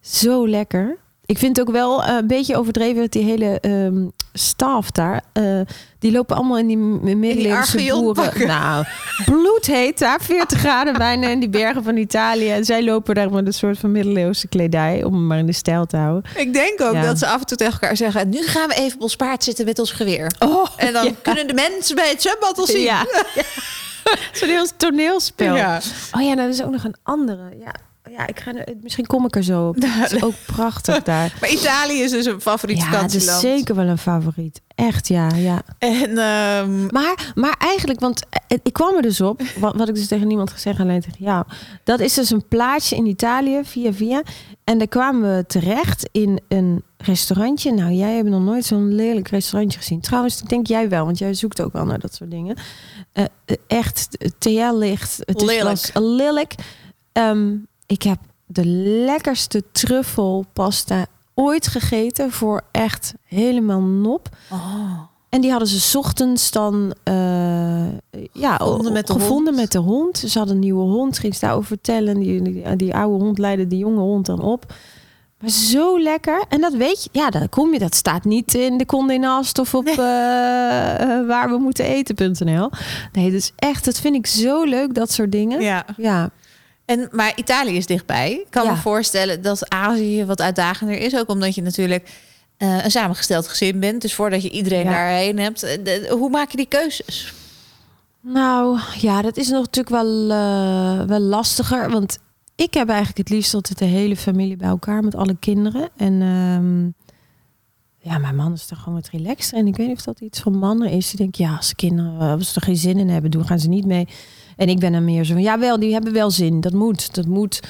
[SPEAKER 2] zo lekker. Ik vind het ook wel eh, een beetje overdreven dat die hele ehm staf daar, eh, die lopen allemaal in die m- middeleeuwse
[SPEAKER 1] Archeon
[SPEAKER 2] boeren.
[SPEAKER 1] pakken.
[SPEAKER 2] Nou, bloedheet daar, 40 graden bijna in die bergen van Italië. En zij lopen daar met een soort van middeleeuwse kledij, om hem maar in de stijl te houden.
[SPEAKER 1] Ik denk ook
[SPEAKER 2] Ja.
[SPEAKER 1] dat ze af en toe tegen elkaar zeggen: nu gaan we even op ons paard zitten met ons geweer.
[SPEAKER 2] Oh,
[SPEAKER 1] En (laughs) dan kunnen de mensen bij het zwembad ons zien.
[SPEAKER 2] (laughs) Ja. Zo'n heel toneelspel.
[SPEAKER 1] Ja.
[SPEAKER 2] Oh ja, nou, er is ook nog een andere. Ja, ja ik ga, er- misschien kom ik er zo op. Het (laughs) is ook prachtig daar.
[SPEAKER 1] Maar Italië is dus een favoriet
[SPEAKER 2] Ja, het is
[SPEAKER 1] vakantieland.
[SPEAKER 2] zeker wel een favoriet. Echt, ja, ja.
[SPEAKER 1] En ehm,
[SPEAKER 2] Maar, maar eigenlijk, want eh, ik kwam er dus op, wat, wat ik dus tegen niemand gezegd, alleen tegen jou. Dat is dus een plaatsje in Italië, via via. En daar kwamen we terecht in een restaurantje. Nou, jij hebt nog nooit zo'n lelijk restaurantje gezien. Trouwens, dat denk jij wel, want jij zoekt ook wel naar dat soort dingen. Eh, eh, echt, eh, TL-licht. Het
[SPEAKER 1] Lelijk.
[SPEAKER 2] is wel lelijk. Ehm, ik heb de lekkerste truffelpasta ooit gegeten voor echt helemaal nop.
[SPEAKER 1] Oh.
[SPEAKER 2] En die hadden ze 's ochtends dan eh, ja,
[SPEAKER 1] Gevonden met de
[SPEAKER 2] gevonden
[SPEAKER 1] hond.
[SPEAKER 2] met de hond. Ze hadden een nieuwe hond, ging ze daarover vertellen. Die, die, die oude hond leidde die jonge hond dan op. Maar zo lekker. En dat weet je, ja, daar kom je. Dat staat niet in de Condé Nast of op eh eh, waar we moeten eten.nl. Nee, dus echt, dat vind ik zo leuk, dat soort dingen.
[SPEAKER 1] ja.
[SPEAKER 2] Ja,
[SPEAKER 1] En, maar Italië is dichtbij. Ik kan
[SPEAKER 2] Ja.
[SPEAKER 1] me voorstellen dat Azië wat uitdagender is. Ook omdat je natuurlijk eh, een samengesteld gezin bent. Dus voordat je iedereen
[SPEAKER 2] Ja.
[SPEAKER 1] daarheen hebt. eh, de- hoe maak je die keuzes?
[SPEAKER 2] Nou ja, dat is nog natuurlijk wel, eh, wel lastiger. Want ik heb eigenlijk het liefst altijd de hele familie bij elkaar met alle kinderen. En ehm, ja, mijn man is er gewoon wat relaxter. En ik weet niet of dat iets van mannen is. Die denken, ja, als de kinderen eh, als ze er geen zin in hebben, doen gaan ze niet mee. En ik ben er meer zo van, jawel, die hebben wel zin. Dat moet, dat moet.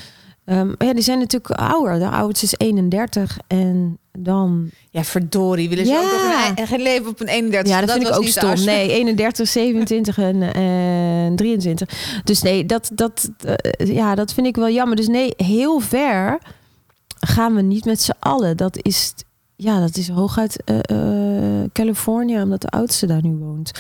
[SPEAKER 2] Ehm, maar ja, die zijn natuurlijk ouder. De oudste is 31 en dan...
[SPEAKER 1] Ja, verdorie. Willen ze
[SPEAKER 2] Ja.
[SPEAKER 1] ook nog een ei- geen leven op een 31
[SPEAKER 2] Ja, dat, vind ik
[SPEAKER 1] was
[SPEAKER 2] ook
[SPEAKER 1] niet de
[SPEAKER 2] stom.
[SPEAKER 1] afspraak.
[SPEAKER 2] Nee, 31, 27 en eh, 23. Dus nee, dat, dat, eh, ja, dat vind ik wel jammer. Dus nee, heel ver gaan we niet met z'n allen. Dat is, ja, dat is hooguit eh, eh, Californië, omdat de oudste daar nu woont.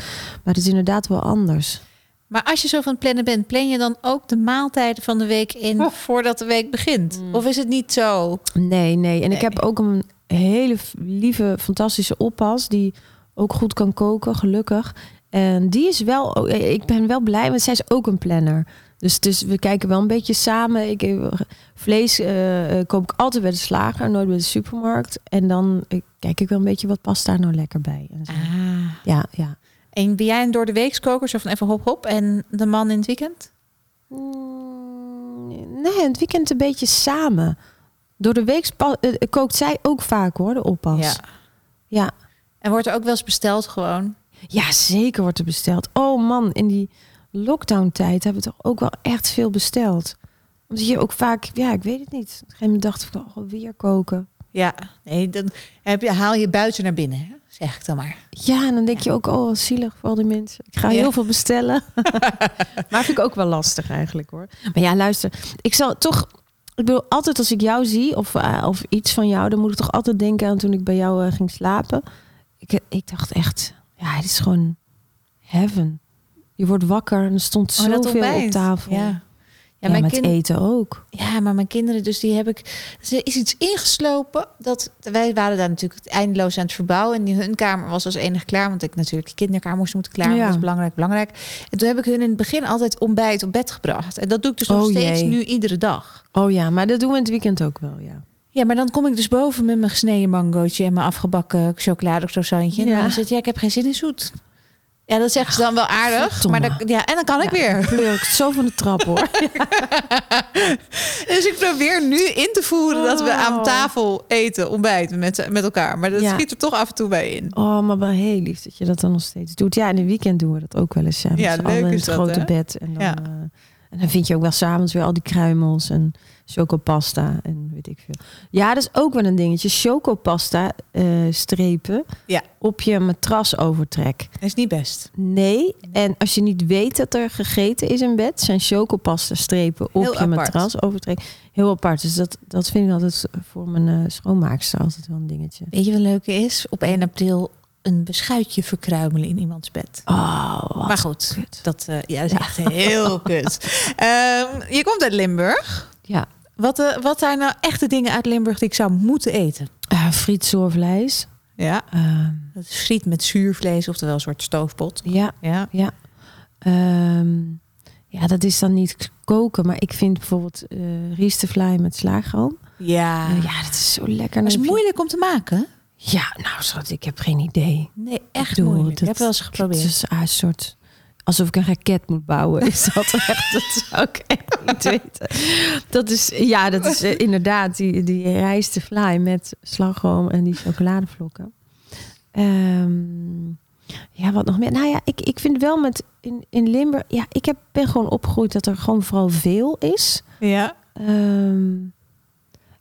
[SPEAKER 2] Maar het is inderdaad wel anders.
[SPEAKER 1] Maar als je zo van het plannen bent, plan je dan ook de maaltijden van de week in voordat de week begint? Of is het niet zo?
[SPEAKER 2] Nee, nee. En ik
[SPEAKER 1] Nee.
[SPEAKER 2] heb ook een hele f- lieve, fantastische oppas die ook goed kan koken, gelukkig. En die is wel, oh, eh, ik ben wel blij, want zij is ook een planner. Dus, dus we kijken wel een beetje samen. Ik, eh, vlees eh, eh, koop ik altijd bij de slager, nooit bij de supermarkt. En dan eh, kijk ik wel een beetje wat past daar nou lekker bij. En zo.
[SPEAKER 1] Ah.
[SPEAKER 2] Ja, ja.
[SPEAKER 1] En ben jij een door de weekskoker, zo van even hop hop, en de man in het weekend?
[SPEAKER 2] Mm, Nee, het weekend een beetje samen. Door de week spa- eh, kookt zij ook vaak hoor, de oppas. Ja.
[SPEAKER 1] En wordt er ook wel eens besteld gewoon?
[SPEAKER 2] ja, zeker wordt er besteld. Oh man, in die lockdown-tijd hebben we toch ook wel echt veel besteld. Omdat je ook vaak, ja, ik weet het niet. Op een gegeven moment dacht ik, oh, weer koken.
[SPEAKER 1] Ja. Nee, dan heb je, haal je buiten naar binnen, hè? zeg ik dan maar.
[SPEAKER 2] Ja, en dan denk je ook, oh, wat zielig voor al die mensen. Ik ga
[SPEAKER 1] Ja.
[SPEAKER 2] heel veel (laughs) bestellen. maar vind ik ook wel lastig eigenlijk hoor. Maar ja, luister, ik zal toch... Ik bedoel, altijd als ik jou zie of, eh, of iets van jou... dan moet ik toch altijd denken aan toen ik bij jou eh, ging slapen. Ik, eh, ik dacht echt, ja, het is gewoon heaven. Je wordt wakker en er stond
[SPEAKER 1] Oh, dat
[SPEAKER 2] zoveel op
[SPEAKER 1] ontbijt.
[SPEAKER 2] tafel.
[SPEAKER 1] Ja.
[SPEAKER 2] Ja,
[SPEAKER 1] Ja, mijn
[SPEAKER 2] met
[SPEAKER 1] kind-
[SPEAKER 2] eten ook.
[SPEAKER 1] Ja, maar mijn kinderen, dus die heb ik. Er is iets ingeslopen. Dat, wij waren daar natuurlijk eindeloos aan het verbouwen. En die- hun kamer was als enig klaar. Want ik natuurlijk die kinderkamer moest moeten klaar.
[SPEAKER 2] Ja.
[SPEAKER 1] Dat is belangrijk, belangrijk. En toen heb ik hun in het begin altijd ontbijt op bed gebracht. En dat doe ik dus nog
[SPEAKER 2] Oh,
[SPEAKER 1] steeds
[SPEAKER 2] jee.
[SPEAKER 1] nu iedere dag.
[SPEAKER 2] Oh ja, maar dat doen we in het weekend ook wel, ja.
[SPEAKER 1] Ja, maar dan kom ik dus boven met mijn gesneden mangootje en mijn afgebakken chocoladecroissantje. En
[SPEAKER 2] Ja.
[SPEAKER 1] dan zegt ja, ik heb geen zin in zoet. Ja, dat zeggen ze dan wel aardig.
[SPEAKER 2] verdomme.
[SPEAKER 1] Maar dan, ja, en dan kan ik
[SPEAKER 2] Ja.
[SPEAKER 1] weer.
[SPEAKER 2] Pleur ik zo van de trap hoor.
[SPEAKER 1] (laughs) Dus ik probeer nu in te voeren dat we aan
[SPEAKER 2] Oh.
[SPEAKER 1] tafel eten, ontbijten met, met elkaar. Maar dat
[SPEAKER 2] Ja.
[SPEAKER 1] schiet er toch af en toe bij in.
[SPEAKER 2] Oh, maar wel heel lief dat je dat dan nog steeds doet. Ja, in het weekend doen we dat ook wel eens. Ja, met
[SPEAKER 1] Ja,
[SPEAKER 2] z'n
[SPEAKER 1] leuk
[SPEAKER 2] allen in het
[SPEAKER 1] is dat,
[SPEAKER 2] grote
[SPEAKER 1] hè?
[SPEAKER 2] bed. En dan,
[SPEAKER 1] Ja.
[SPEAKER 2] eh, en dan vind je ook wel s'avonds weer al die kruimels en chocopasta en weet ik veel. Ja, dat is ook wel een dingetje. Chocopasta eh, strepen
[SPEAKER 1] Ja.
[SPEAKER 2] op je matras overtrek.
[SPEAKER 1] Dat is niet best.
[SPEAKER 2] Nee, en als je niet weet dat er gegeten is in bed, zijn chocopasta strepen op
[SPEAKER 1] Heel
[SPEAKER 2] je
[SPEAKER 1] apart.
[SPEAKER 2] matras overtrek. Heel apart. Dus dat, dat vind ik altijd voor mijn eh, schoonmaakster altijd wel een dingetje.
[SPEAKER 1] Weet je wat leuk is? Op 1 april een beschuitje verkruimelen in iemands bed.
[SPEAKER 2] Oh, wat
[SPEAKER 1] Maar goed,
[SPEAKER 2] kut.
[SPEAKER 1] dat, eh, ja, (laughs) dat is echt heel kut. Ehm, je komt uit Limburg.
[SPEAKER 2] Ja.
[SPEAKER 1] Wat, eh, wat zijn nou echte dingen uit Limburg die ik zou moeten eten?
[SPEAKER 2] Eh friet, zorvlees.
[SPEAKER 1] Ja,
[SPEAKER 2] Ehm,
[SPEAKER 1] dat is friet met zuurvlees, oftewel een soort stoofpot.
[SPEAKER 2] ja,
[SPEAKER 1] Ja.
[SPEAKER 2] ehm, ja, dat is dan niet k- koken, maar ik vind bijvoorbeeld eh riestenvlaai met slagroom.
[SPEAKER 1] Ja.
[SPEAKER 2] Eh, ja, dat is zo lekker.
[SPEAKER 1] Ah. Dat
[SPEAKER 2] Dan
[SPEAKER 1] is
[SPEAKER 2] heb je-
[SPEAKER 1] moeilijk om te maken.
[SPEAKER 2] Ja, nou schat, ik heb geen idee.
[SPEAKER 1] Nee,
[SPEAKER 2] Ik
[SPEAKER 1] echt
[SPEAKER 2] bedoel,
[SPEAKER 1] moeilijk.
[SPEAKER 2] dat-
[SPEAKER 1] ik heb wel eens geprobeerd.
[SPEAKER 2] Het is ah, een soort... Alsof ik een raket moet bouwen. Is dat echt? Dat zou ik echt niet weten. Dat is, ja, dat is eh, inderdaad die, die rijstenvlaai met slagroom en die chocoladevlokken. Ehm, ja, wat nog meer? Nou ja, ik, ik vind wel met in, in Limburg... Ja, ik heb, ben gewoon opgegroeid dat er gewoon vooral veel is.
[SPEAKER 1] Ja.
[SPEAKER 2] Ehm,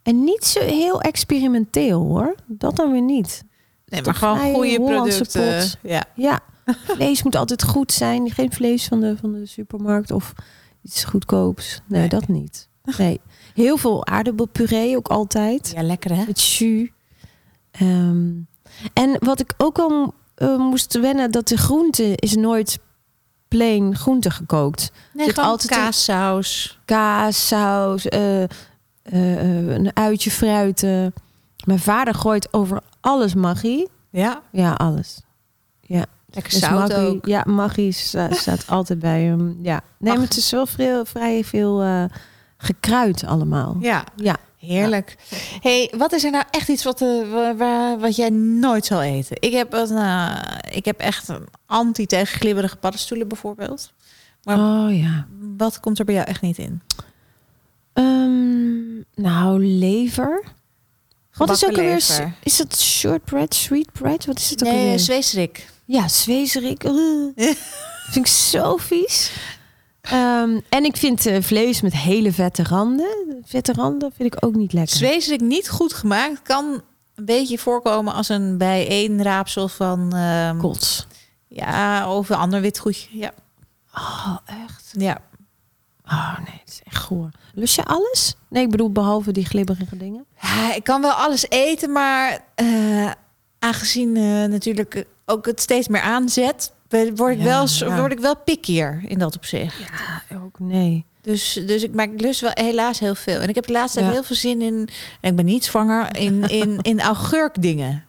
[SPEAKER 2] en niet zo heel experimenteel hoor. Dat dan weer niet.
[SPEAKER 1] Nee, maar
[SPEAKER 2] Toch
[SPEAKER 1] gewoon
[SPEAKER 2] vrij
[SPEAKER 1] goede
[SPEAKER 2] Hollandse
[SPEAKER 1] producten.
[SPEAKER 2] pot.
[SPEAKER 1] Ja.
[SPEAKER 2] Ja, vlees moet altijd goed zijn. Geen vlees van de, van de supermarkt of iets goedkoops. Nee,
[SPEAKER 1] Nee.
[SPEAKER 2] dat niet. Nee. Heel veel aardappelpuree ook altijd.
[SPEAKER 1] ja, lekker hè?
[SPEAKER 2] Met jus. Ehm, en wat ik ook al eh, moest wennen, dat de groente is nooit plain groente gekookt.
[SPEAKER 1] Nee,
[SPEAKER 2] Zit
[SPEAKER 1] gewoon
[SPEAKER 2] altijd een-
[SPEAKER 1] kaassaus.
[SPEAKER 2] Kaas, saus, eh, eh, eh, een uitje fruiten. Mijn vader gooit over alles magie.
[SPEAKER 1] Ja,
[SPEAKER 2] Ja, alles.
[SPEAKER 1] lekker
[SPEAKER 2] Dus
[SPEAKER 1] zout
[SPEAKER 2] Maggie-
[SPEAKER 1] ook.
[SPEAKER 2] Ja, Maggie (laughs) sta- staat altijd bij hem. Ja. Nee, maar
[SPEAKER 1] Mag-
[SPEAKER 2] het is wel vrij, vrij veel eh, gekruid allemaal.
[SPEAKER 1] Ja.
[SPEAKER 2] Ja.
[SPEAKER 1] Heerlijk. hey, wat is er nou echt iets wat, eh, wa- wa- wat jij nooit zal eten? Ik heb, een, eh, ik heb echt een anti tegen glibberige paddenstoelen bijvoorbeeld.
[SPEAKER 2] Oh ja.
[SPEAKER 1] Wat komt er bij jou echt niet in?
[SPEAKER 2] Ehm, nou, lever. Wat is ook
[SPEAKER 1] Gebakken
[SPEAKER 2] alweer?
[SPEAKER 1] lever.
[SPEAKER 2] s- Is dat shortbread, sweetbread? Wat is het ook
[SPEAKER 1] Nee,
[SPEAKER 2] alweer?
[SPEAKER 1] zweesrik.
[SPEAKER 2] ja, zwezerik.
[SPEAKER 1] (laughs)
[SPEAKER 2] Ugh. vind ik zo vies. Ehm, en ik vind eh, vlees met hele vette randen. Vette randen vind ik ook niet lekker.
[SPEAKER 1] Zweesrik niet goed gemaakt kan een beetje voorkomen als een bijeenraapsel van... ehm,
[SPEAKER 2] Kots.
[SPEAKER 1] ja, of een ander witgoedje. Ja.
[SPEAKER 2] Oh, echt?
[SPEAKER 1] ja.
[SPEAKER 2] Oh nee, het is echt goor. Lust je alles? Nee, ik bedoel behalve die glibberige dingen.
[SPEAKER 1] Ja, ik kan wel alles eten, maar eh, aangezien eh, natuurlijk ook het steeds meer aanzet, ben- word ik,
[SPEAKER 2] Ja,
[SPEAKER 1] wel, s-
[SPEAKER 2] ja.
[SPEAKER 1] word ik wel pickier in dat opzicht.
[SPEAKER 2] Ja, ook nee.
[SPEAKER 1] Dus, dus ik maak lust wel helaas heel veel. En ik heb de laatste tijd
[SPEAKER 2] Ja.
[SPEAKER 1] heel veel zin in, en ik ben niet zwanger, in,
[SPEAKER 2] (laughs)
[SPEAKER 1] in, in augurkdingen.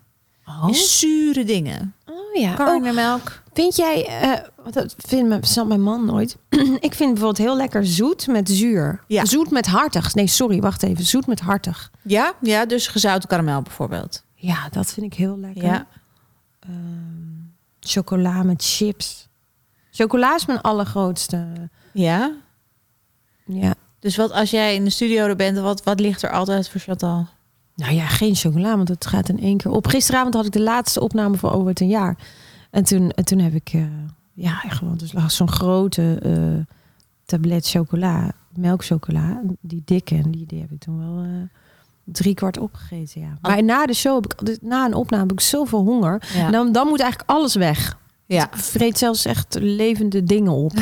[SPEAKER 2] Oh,
[SPEAKER 1] In zure dingen.
[SPEAKER 2] oh ja. Oh,
[SPEAKER 1] Karnemelk.
[SPEAKER 2] vind jij, eh, want dat vindt mijn, snapt mijn man nooit. (clears throat) ik vind bijvoorbeeld heel lekker zoet met zuur.
[SPEAKER 1] Ja.
[SPEAKER 2] Zoet met hartig. Nee, sorry, wacht even. Zoet met hartig.
[SPEAKER 1] Ja, ja, dus gezouten karamel bijvoorbeeld.
[SPEAKER 2] Ja, dat vind ik heel lekker.
[SPEAKER 1] Ja.
[SPEAKER 2] Ehm, chocola met chips. Chocola is mijn allergrootste.
[SPEAKER 1] ja.
[SPEAKER 2] Ja.
[SPEAKER 1] Dus wat als jij in de studio er bent, wat, wat ligt er altijd voor Chantal?
[SPEAKER 2] Nou ja, geen chocola, want het gaat in één keer op. Gisteravond had ik de laatste opname van over het een jaar. En toen, en toen heb ik, eh, ja, echt gewoon, dus lag zo'n grote eh, tablet chocola, melkchocola, die dikke, en die, die heb ik toen wel eh, drie kwart opgegeten, ja. Maar na de show, heb ik, altijd- na een opname, heb ik zoveel honger.
[SPEAKER 1] Ja.
[SPEAKER 2] En Dan, dan moet eigenlijk alles weg.
[SPEAKER 1] (laughs) ja.
[SPEAKER 2] Ik vreet zelfs echt levende dingen op.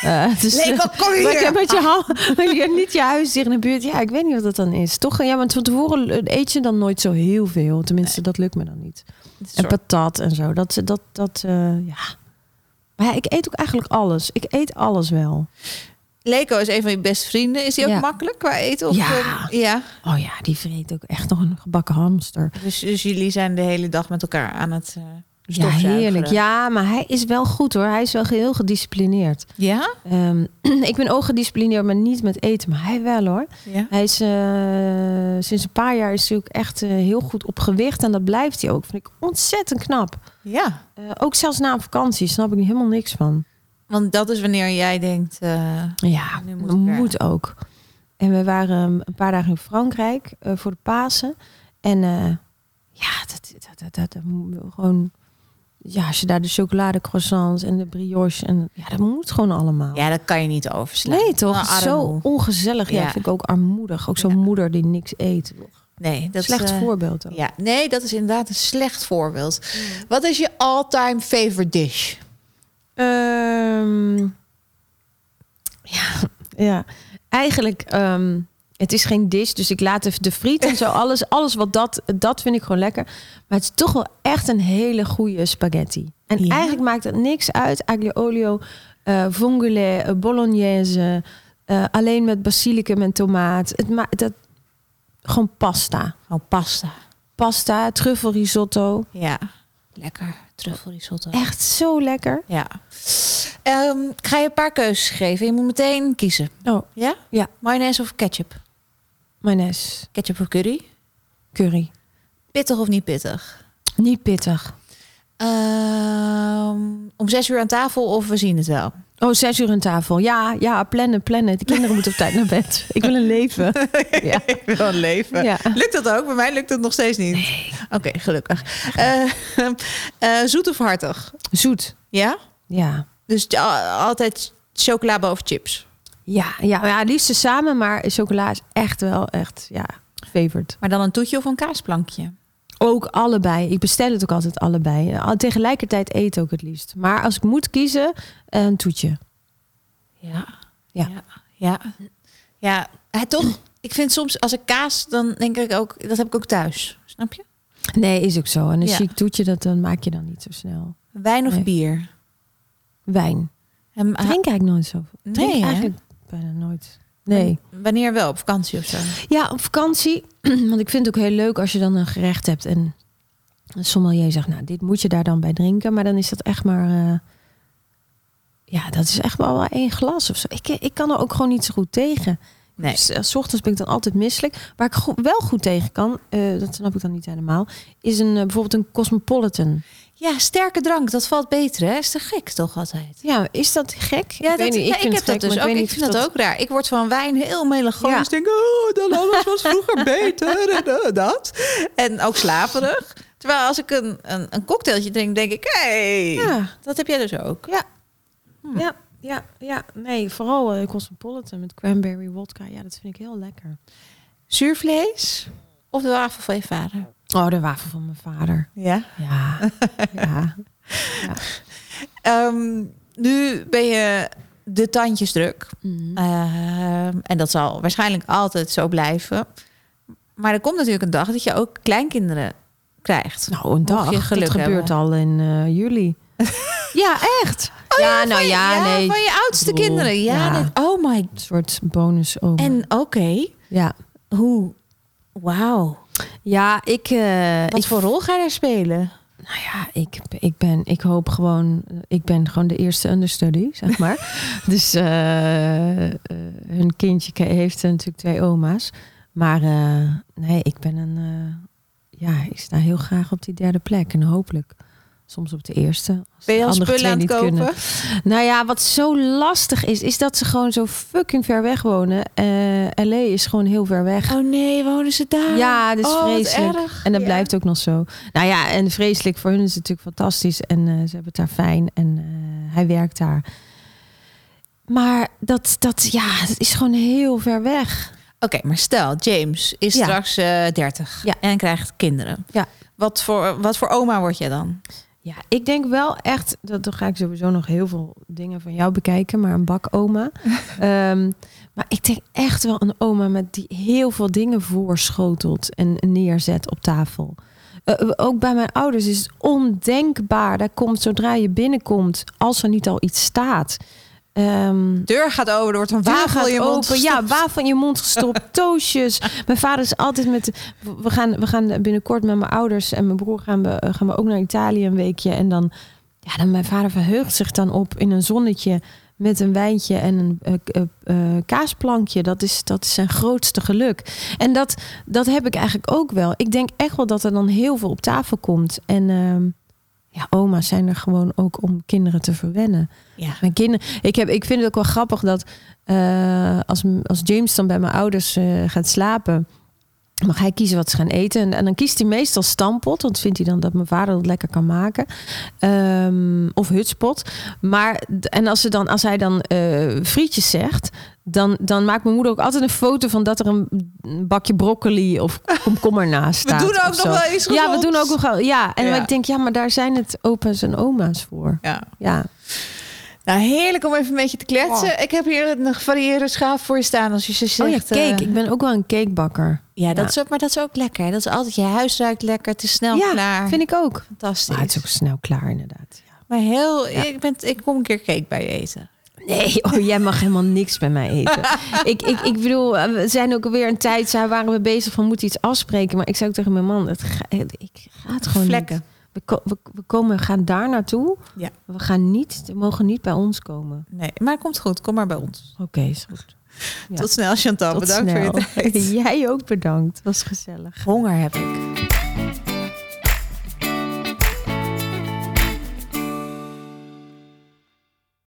[SPEAKER 2] Eh, dus, eh,
[SPEAKER 1] kom
[SPEAKER 2] maar ik heb met je, hand- (laughs) maar je hebt niet je huis hier in de buurt. Ja, ik weet niet wat dat dan is. Toch? Ja, want van tevoren eh, eet je dan nooit zo heel veel. Tenminste, dat lukt me dan niet. En patat en zo. Dat, dat, dat eh, ja. Maar ja, ik eet ook eigenlijk alles. Ik eet alles wel.
[SPEAKER 1] Leko is een van je beste vrienden. Is die ook
[SPEAKER 2] Ja.
[SPEAKER 1] makkelijk qua eten? Of,
[SPEAKER 2] Ja.
[SPEAKER 1] ehm, ja.
[SPEAKER 2] Oh ja, die vreet ook echt nog een gebakken hamster.
[SPEAKER 1] Dus, dus jullie zijn de hele dag met elkaar aan het eh
[SPEAKER 2] Ja,
[SPEAKER 1] stofzuigeren.
[SPEAKER 2] heerlijk. Ja, maar hij is wel goed hoor. Hij is wel heel gedisciplineerd.
[SPEAKER 1] Ja?
[SPEAKER 2] Ehm, (clears throat) ik ben ook gedisciplineerd, maar niet met eten. Maar hij wel hoor.
[SPEAKER 1] Ja.
[SPEAKER 2] Hij is eh, sinds een paar jaar is hij ook echt eh, heel goed op gewicht. En dat blijft hij ook. Vind ik ontzettend knap.
[SPEAKER 1] ja.
[SPEAKER 2] Eh, ook zelfs na een vakantie snap ik er helemaal niks van.
[SPEAKER 1] Want dat is wanneer jij denkt... eh,
[SPEAKER 2] Ja,
[SPEAKER 1] Nu moet
[SPEAKER 2] dat
[SPEAKER 1] ik er.
[SPEAKER 2] moet ook. En we waren ehm, een paar dagen in Frankrijk eh, voor de Pasen. En eh, ja, dat, dat, dat, dat, dat moet gewoon. Ja, als je daar de chocoladecroissants en de brioche en ja, dat moet gewoon allemaal.
[SPEAKER 1] ja, dat kan je niet overslaan.
[SPEAKER 2] Nee, toch?
[SPEAKER 1] Nou,
[SPEAKER 2] zo
[SPEAKER 1] armoe.
[SPEAKER 2] ongezellig. Ja,
[SPEAKER 1] Ja.
[SPEAKER 2] vind ik ook armoedig. Ook zo'n
[SPEAKER 1] Ja.
[SPEAKER 2] moeder die niks eet.
[SPEAKER 1] Nee, dat
[SPEAKER 2] Slecht
[SPEAKER 1] is, eh,
[SPEAKER 2] voorbeeld. Ook.
[SPEAKER 1] Ja, nee, dat is inderdaad een slecht voorbeeld. Wat is je all-time favorite dish?
[SPEAKER 2] Ehm, ja, ja, eigenlijk, ehm, het is geen dish, dus ik laat even de friet en zo, alles, alles wat dat, dat vind ik gewoon lekker. Maar het is toch wel echt een hele goede spaghetti. En
[SPEAKER 1] Ja?
[SPEAKER 2] eigenlijk maakt het niks uit, aglio olio, eh vongole, eh, bolognese, eh, alleen met basilicum en tomaat. Het ma- dat, gewoon pasta.
[SPEAKER 1] Gewoon pasta.
[SPEAKER 2] Pasta, truffelrisotto,
[SPEAKER 1] Ja, lekker. Truffelrisotto.
[SPEAKER 2] echt zo lekker.
[SPEAKER 1] Ja. Ehm, ik ga je een paar keuzes geven. Je moet meteen kiezen.
[SPEAKER 2] Oh,
[SPEAKER 1] Ja?
[SPEAKER 2] Ja.
[SPEAKER 1] Mayonaise of ketchup?
[SPEAKER 2] mayonaise,
[SPEAKER 1] Ketchup of curry?
[SPEAKER 2] curry,
[SPEAKER 1] Pittig of niet pittig?
[SPEAKER 2] niet pittig.
[SPEAKER 1] Ehm, om zes uur aan tafel of we zien het (laughs) wel?
[SPEAKER 2] Oh, zes uur aan tafel. Ja, ja, plannen, plannen. De kinderen moeten op tijd naar bed. Ik wil een leven.
[SPEAKER 1] (laughs)
[SPEAKER 2] Ja.
[SPEAKER 1] Ik wil een leven.
[SPEAKER 2] Ja.
[SPEAKER 1] Lukt dat ook? Bij mij lukt dat nog steeds niet. Oké, gelukkig. Eh, (laughs) eh, zoet of hartig?
[SPEAKER 2] Zoet.
[SPEAKER 1] Ja?
[SPEAKER 2] Ja.
[SPEAKER 1] Dus ja, altijd chocola boven chips.
[SPEAKER 2] Ja, ja, ja, het liefst samen, maar chocola is echt wel echt, ja, favorite.
[SPEAKER 1] Maar dan een toetje of een kaasplankje.
[SPEAKER 2] Ook allebei. Ik bestel het ook altijd allebei. Al- Tegelijkertijd eten ook het liefst. Maar als ik moet kiezen, een toetje.
[SPEAKER 1] Ja.
[SPEAKER 2] Ja.
[SPEAKER 1] Ja. Ja. ja. eh, toch? Ik vind soms als ik kaas, dan denk ik ook, dat heb ik ook thuis. Snap je?
[SPEAKER 2] Nee, is ook zo. En een
[SPEAKER 1] Ja.
[SPEAKER 2] chic toetje, dat dan maak je dan niet zo snel.
[SPEAKER 1] Wijn of
[SPEAKER 2] Nee.
[SPEAKER 1] bier?
[SPEAKER 2] Wijn.
[SPEAKER 1] En, ah,
[SPEAKER 2] Drink eigenlijk nooit zoveel. Drink
[SPEAKER 1] Nee, hè?
[SPEAKER 2] eigenlijk bijna nooit. Nee.
[SPEAKER 1] Wanneer wel? Op vakantie of zo?
[SPEAKER 2] Ja, op vakantie. (clears throat) Want ik vind het ook heel leuk als je dan een gerecht hebt. En een sommelier zegt, nou, dit moet je daar dan bij drinken. Maar dan is dat echt maar... eh, ja, dat is echt wel wel één glas of zo. Ik, eh, ik kan er ook gewoon niet zo goed tegen.
[SPEAKER 1] Nee.
[SPEAKER 2] Dus, eh, s ochtends ben ik dan altijd misselijk. Waar ik go- wel goed tegen kan, eh, dat snap ik dan niet helemaal... is een, eh, bijvoorbeeld een Cosmopolitan.
[SPEAKER 1] Ja, sterke drank, dat valt beter, hè? Is te gek toch altijd?
[SPEAKER 2] Ja, is dat gek?
[SPEAKER 1] Ja, dat,
[SPEAKER 2] weet niet,
[SPEAKER 1] ja, ik
[SPEAKER 2] vind het
[SPEAKER 1] heb dat
[SPEAKER 2] gek, maar
[SPEAKER 1] dus ook.
[SPEAKER 2] weet
[SPEAKER 1] Ik,
[SPEAKER 2] niet
[SPEAKER 1] vind
[SPEAKER 2] of
[SPEAKER 1] dat, ook raar. Ik word van wijn heel melancholisch.
[SPEAKER 2] Ja.
[SPEAKER 1] Ik denk, oh, dan alles was vroeger (laughs) beter. en, eh, dat. En ook slaperig. Terwijl als ik een, een, een cocktailtje drink, denk ik, hey,
[SPEAKER 2] Ja,
[SPEAKER 1] dat heb jij dus ook.
[SPEAKER 2] ja, ja, ja. Nee, vooral eh, Cosmopolitan met cranberry wodka. Ja, dat vind ik heel lekker.
[SPEAKER 1] Zuurvlees of de wafel van je vader?
[SPEAKER 2] Oh, de wafel van mijn vader.
[SPEAKER 1] Ja.
[SPEAKER 2] Ja. (laughs) ja.
[SPEAKER 1] Ehm, nu ben je de tandjes druk.
[SPEAKER 2] Mm. Eh,
[SPEAKER 1] Ehm, en dat zal waarschijnlijk altijd zo blijven. Maar er komt natuurlijk een dag dat je ook kleinkinderen krijgt.
[SPEAKER 2] Nou, een dag.
[SPEAKER 1] je geluk
[SPEAKER 2] dat gebeurt
[SPEAKER 1] hebben.
[SPEAKER 2] al in eh, juli. (laughs) ja, echt. ja, nou
[SPEAKER 1] Oh Van je-
[SPEAKER 2] ja, nee.
[SPEAKER 1] Van je oudste
[SPEAKER 2] Ik bedoel,
[SPEAKER 1] kinderen. Ja,
[SPEAKER 2] ja.
[SPEAKER 1] dat- oh my.
[SPEAKER 2] Een soort bonus ook.
[SPEAKER 1] En oké,
[SPEAKER 2] ja.
[SPEAKER 1] hoe? Wauw.
[SPEAKER 2] Ja, ik... eh,
[SPEAKER 1] Wat
[SPEAKER 2] ik
[SPEAKER 1] voor rol ga je daar spelen?
[SPEAKER 2] Nou ja, ik, ik, ben, ik hoop gewoon... Ik ben gewoon de eerste understudy, zeg
[SPEAKER 1] (laughs)
[SPEAKER 2] maar. dus eh, eh, hun kindje ke- heeft natuurlijk twee oma's. Maar eh, nee, ik ben een... eh, ja, ik sta heel graag op die derde plek. En hopelijk Soms op de eerste. Als
[SPEAKER 1] Ben je
[SPEAKER 2] de
[SPEAKER 1] al
[SPEAKER 2] andere
[SPEAKER 1] spullen aan
[SPEAKER 2] twee
[SPEAKER 1] het
[SPEAKER 2] niet
[SPEAKER 1] kopen?
[SPEAKER 2] kunnen. Nou ja, wat zo lastig is, is dat ze gewoon zo fucking ver weg wonen. Eh LA is gewoon heel ver weg.
[SPEAKER 1] Oh nee, wonen ze daar?
[SPEAKER 2] Ja, dat is
[SPEAKER 1] oh, wat
[SPEAKER 2] vreselijk.
[SPEAKER 1] erg.
[SPEAKER 2] En dat
[SPEAKER 1] Ja.
[SPEAKER 2] blijft ook nog zo. Nou ja, en vreselijk voor hun is het natuurlijk fantastisch. En eh, ze hebben het daar fijn. En eh, hij werkt daar. Maar dat, dat, ja, dat is gewoon heel ver weg.
[SPEAKER 1] Oké, maar stel, James is
[SPEAKER 2] Ja.
[SPEAKER 1] straks eh 30
[SPEAKER 2] Ja.
[SPEAKER 1] en krijgt kinderen.
[SPEAKER 2] Ja.
[SPEAKER 1] Wat voor, wat voor oma word jij dan?
[SPEAKER 2] Ja, ik denk wel echt, dat, dan ga ik sowieso nog heel veel dingen van jou bekijken, maar een bakoma. Ehm, maar ik denk echt wel een oma met die heel veel dingen voorschotelt en neerzet op tafel. Eh, ook bij mijn ouders is het ondenkbaar. Daar komt zodra je binnenkomt, als er niet al iets staat. Ehm
[SPEAKER 1] Deur gaat open, er wordt een
[SPEAKER 2] Waar
[SPEAKER 1] wafel
[SPEAKER 2] gaat
[SPEAKER 1] in je mond
[SPEAKER 2] open. Ja,
[SPEAKER 1] gestopt.
[SPEAKER 2] wafel in je mond
[SPEAKER 1] (laughs)
[SPEAKER 2] gestopt. Toastjes. Mijn vader is altijd met... We gaan, we gaan binnenkort met mijn ouders en mijn broer gaan we, eh, gaan we ook naar Italië een weekje. En dan... Ja, dan mijn vader verheugt zich dan op in een zonnetje met een wijntje en een eh, k- eh, eh, kaasplankje. Dat is, dat is zijn grootste geluk. En dat, dat heb ik eigenlijk ook wel. Ik denk echt wel dat er dan heel veel op tafel komt. En ehm, ja, oma's zijn er gewoon ook om kinderen te verwennen.
[SPEAKER 1] Ja.
[SPEAKER 2] Mijn kinderen. Ik, heb, ik vind het ook wel grappig dat eh, als, als James dan bij mijn ouders eh, gaat slapen, mag hij kiezen wat ze gaan eten. En, en dan kiest hij meestal stampot, want vindt hij dan dat mijn vader dat lekker kan maken. Ehm, of hutspot. Maar d- en als, ze dan, als hij dan eh, frietjes zegt, dan, dan maakt mijn moeder ook altijd een foto van dat er een een bakje broccoli of komkommer naast
[SPEAKER 1] We
[SPEAKER 2] staat.
[SPEAKER 1] doen
[SPEAKER 2] of
[SPEAKER 1] ook
[SPEAKER 2] zo.
[SPEAKER 1] nog wel iets
[SPEAKER 2] Ja, we
[SPEAKER 1] gezonds.
[SPEAKER 2] doen ook nog wel. Ja, en
[SPEAKER 1] Ja.
[SPEAKER 2] ik denk, ja, maar daar zijn het opa's en oma's voor.
[SPEAKER 1] Ja.
[SPEAKER 2] Ja.
[SPEAKER 1] Nou, heerlijk om even een beetje te kletsen. Ik heb hier een gevarieerde schaaf voor je staan als je ze zegt.
[SPEAKER 2] Oh ja,
[SPEAKER 1] eh,
[SPEAKER 2] cake. Ik ben ook wel een cakebakker.
[SPEAKER 1] ja, dat
[SPEAKER 2] Ja.
[SPEAKER 1] Is ook, maar dat is ook lekker. hè. Dat is altijd, je huis ruikt lekker, het is snel
[SPEAKER 2] ja,
[SPEAKER 1] klaar.
[SPEAKER 2] vind ik ook.
[SPEAKER 1] Fantastisch.
[SPEAKER 2] Maar Ah. het is ook snel klaar, inderdaad.
[SPEAKER 1] Maar heel,
[SPEAKER 2] Ja.
[SPEAKER 1] ik, ben, ik kom een keer cake bij je eten.
[SPEAKER 2] Nee, oh, jij mag helemaal niks bij mij (laughs) eten. ik, ik, ik bedoel, eh, we zijn ook alweer een tijd, zo waren we bezig van moeten iets afspreken. Maar ik zei ook tegen mijn man, het ga, het- ik ga het gewoon
[SPEAKER 1] Vlekken.
[SPEAKER 2] niet. We, ko- we, we komen, we gaan daar naartoe.
[SPEAKER 1] Ja.
[SPEAKER 2] We gaan niet, we mogen niet bij ons komen.
[SPEAKER 1] Nee, maar het komt goed. Kom maar bij ons.
[SPEAKER 2] Oké, is (laughs) goed. Ja.
[SPEAKER 1] Tot snel, Chantal.
[SPEAKER 2] Tot
[SPEAKER 1] Bedankt (laughs)
[SPEAKER 2] snel.
[SPEAKER 1] voor je tijd.
[SPEAKER 2] jij ook bedankt. was gezellig.
[SPEAKER 1] Honger heb ik.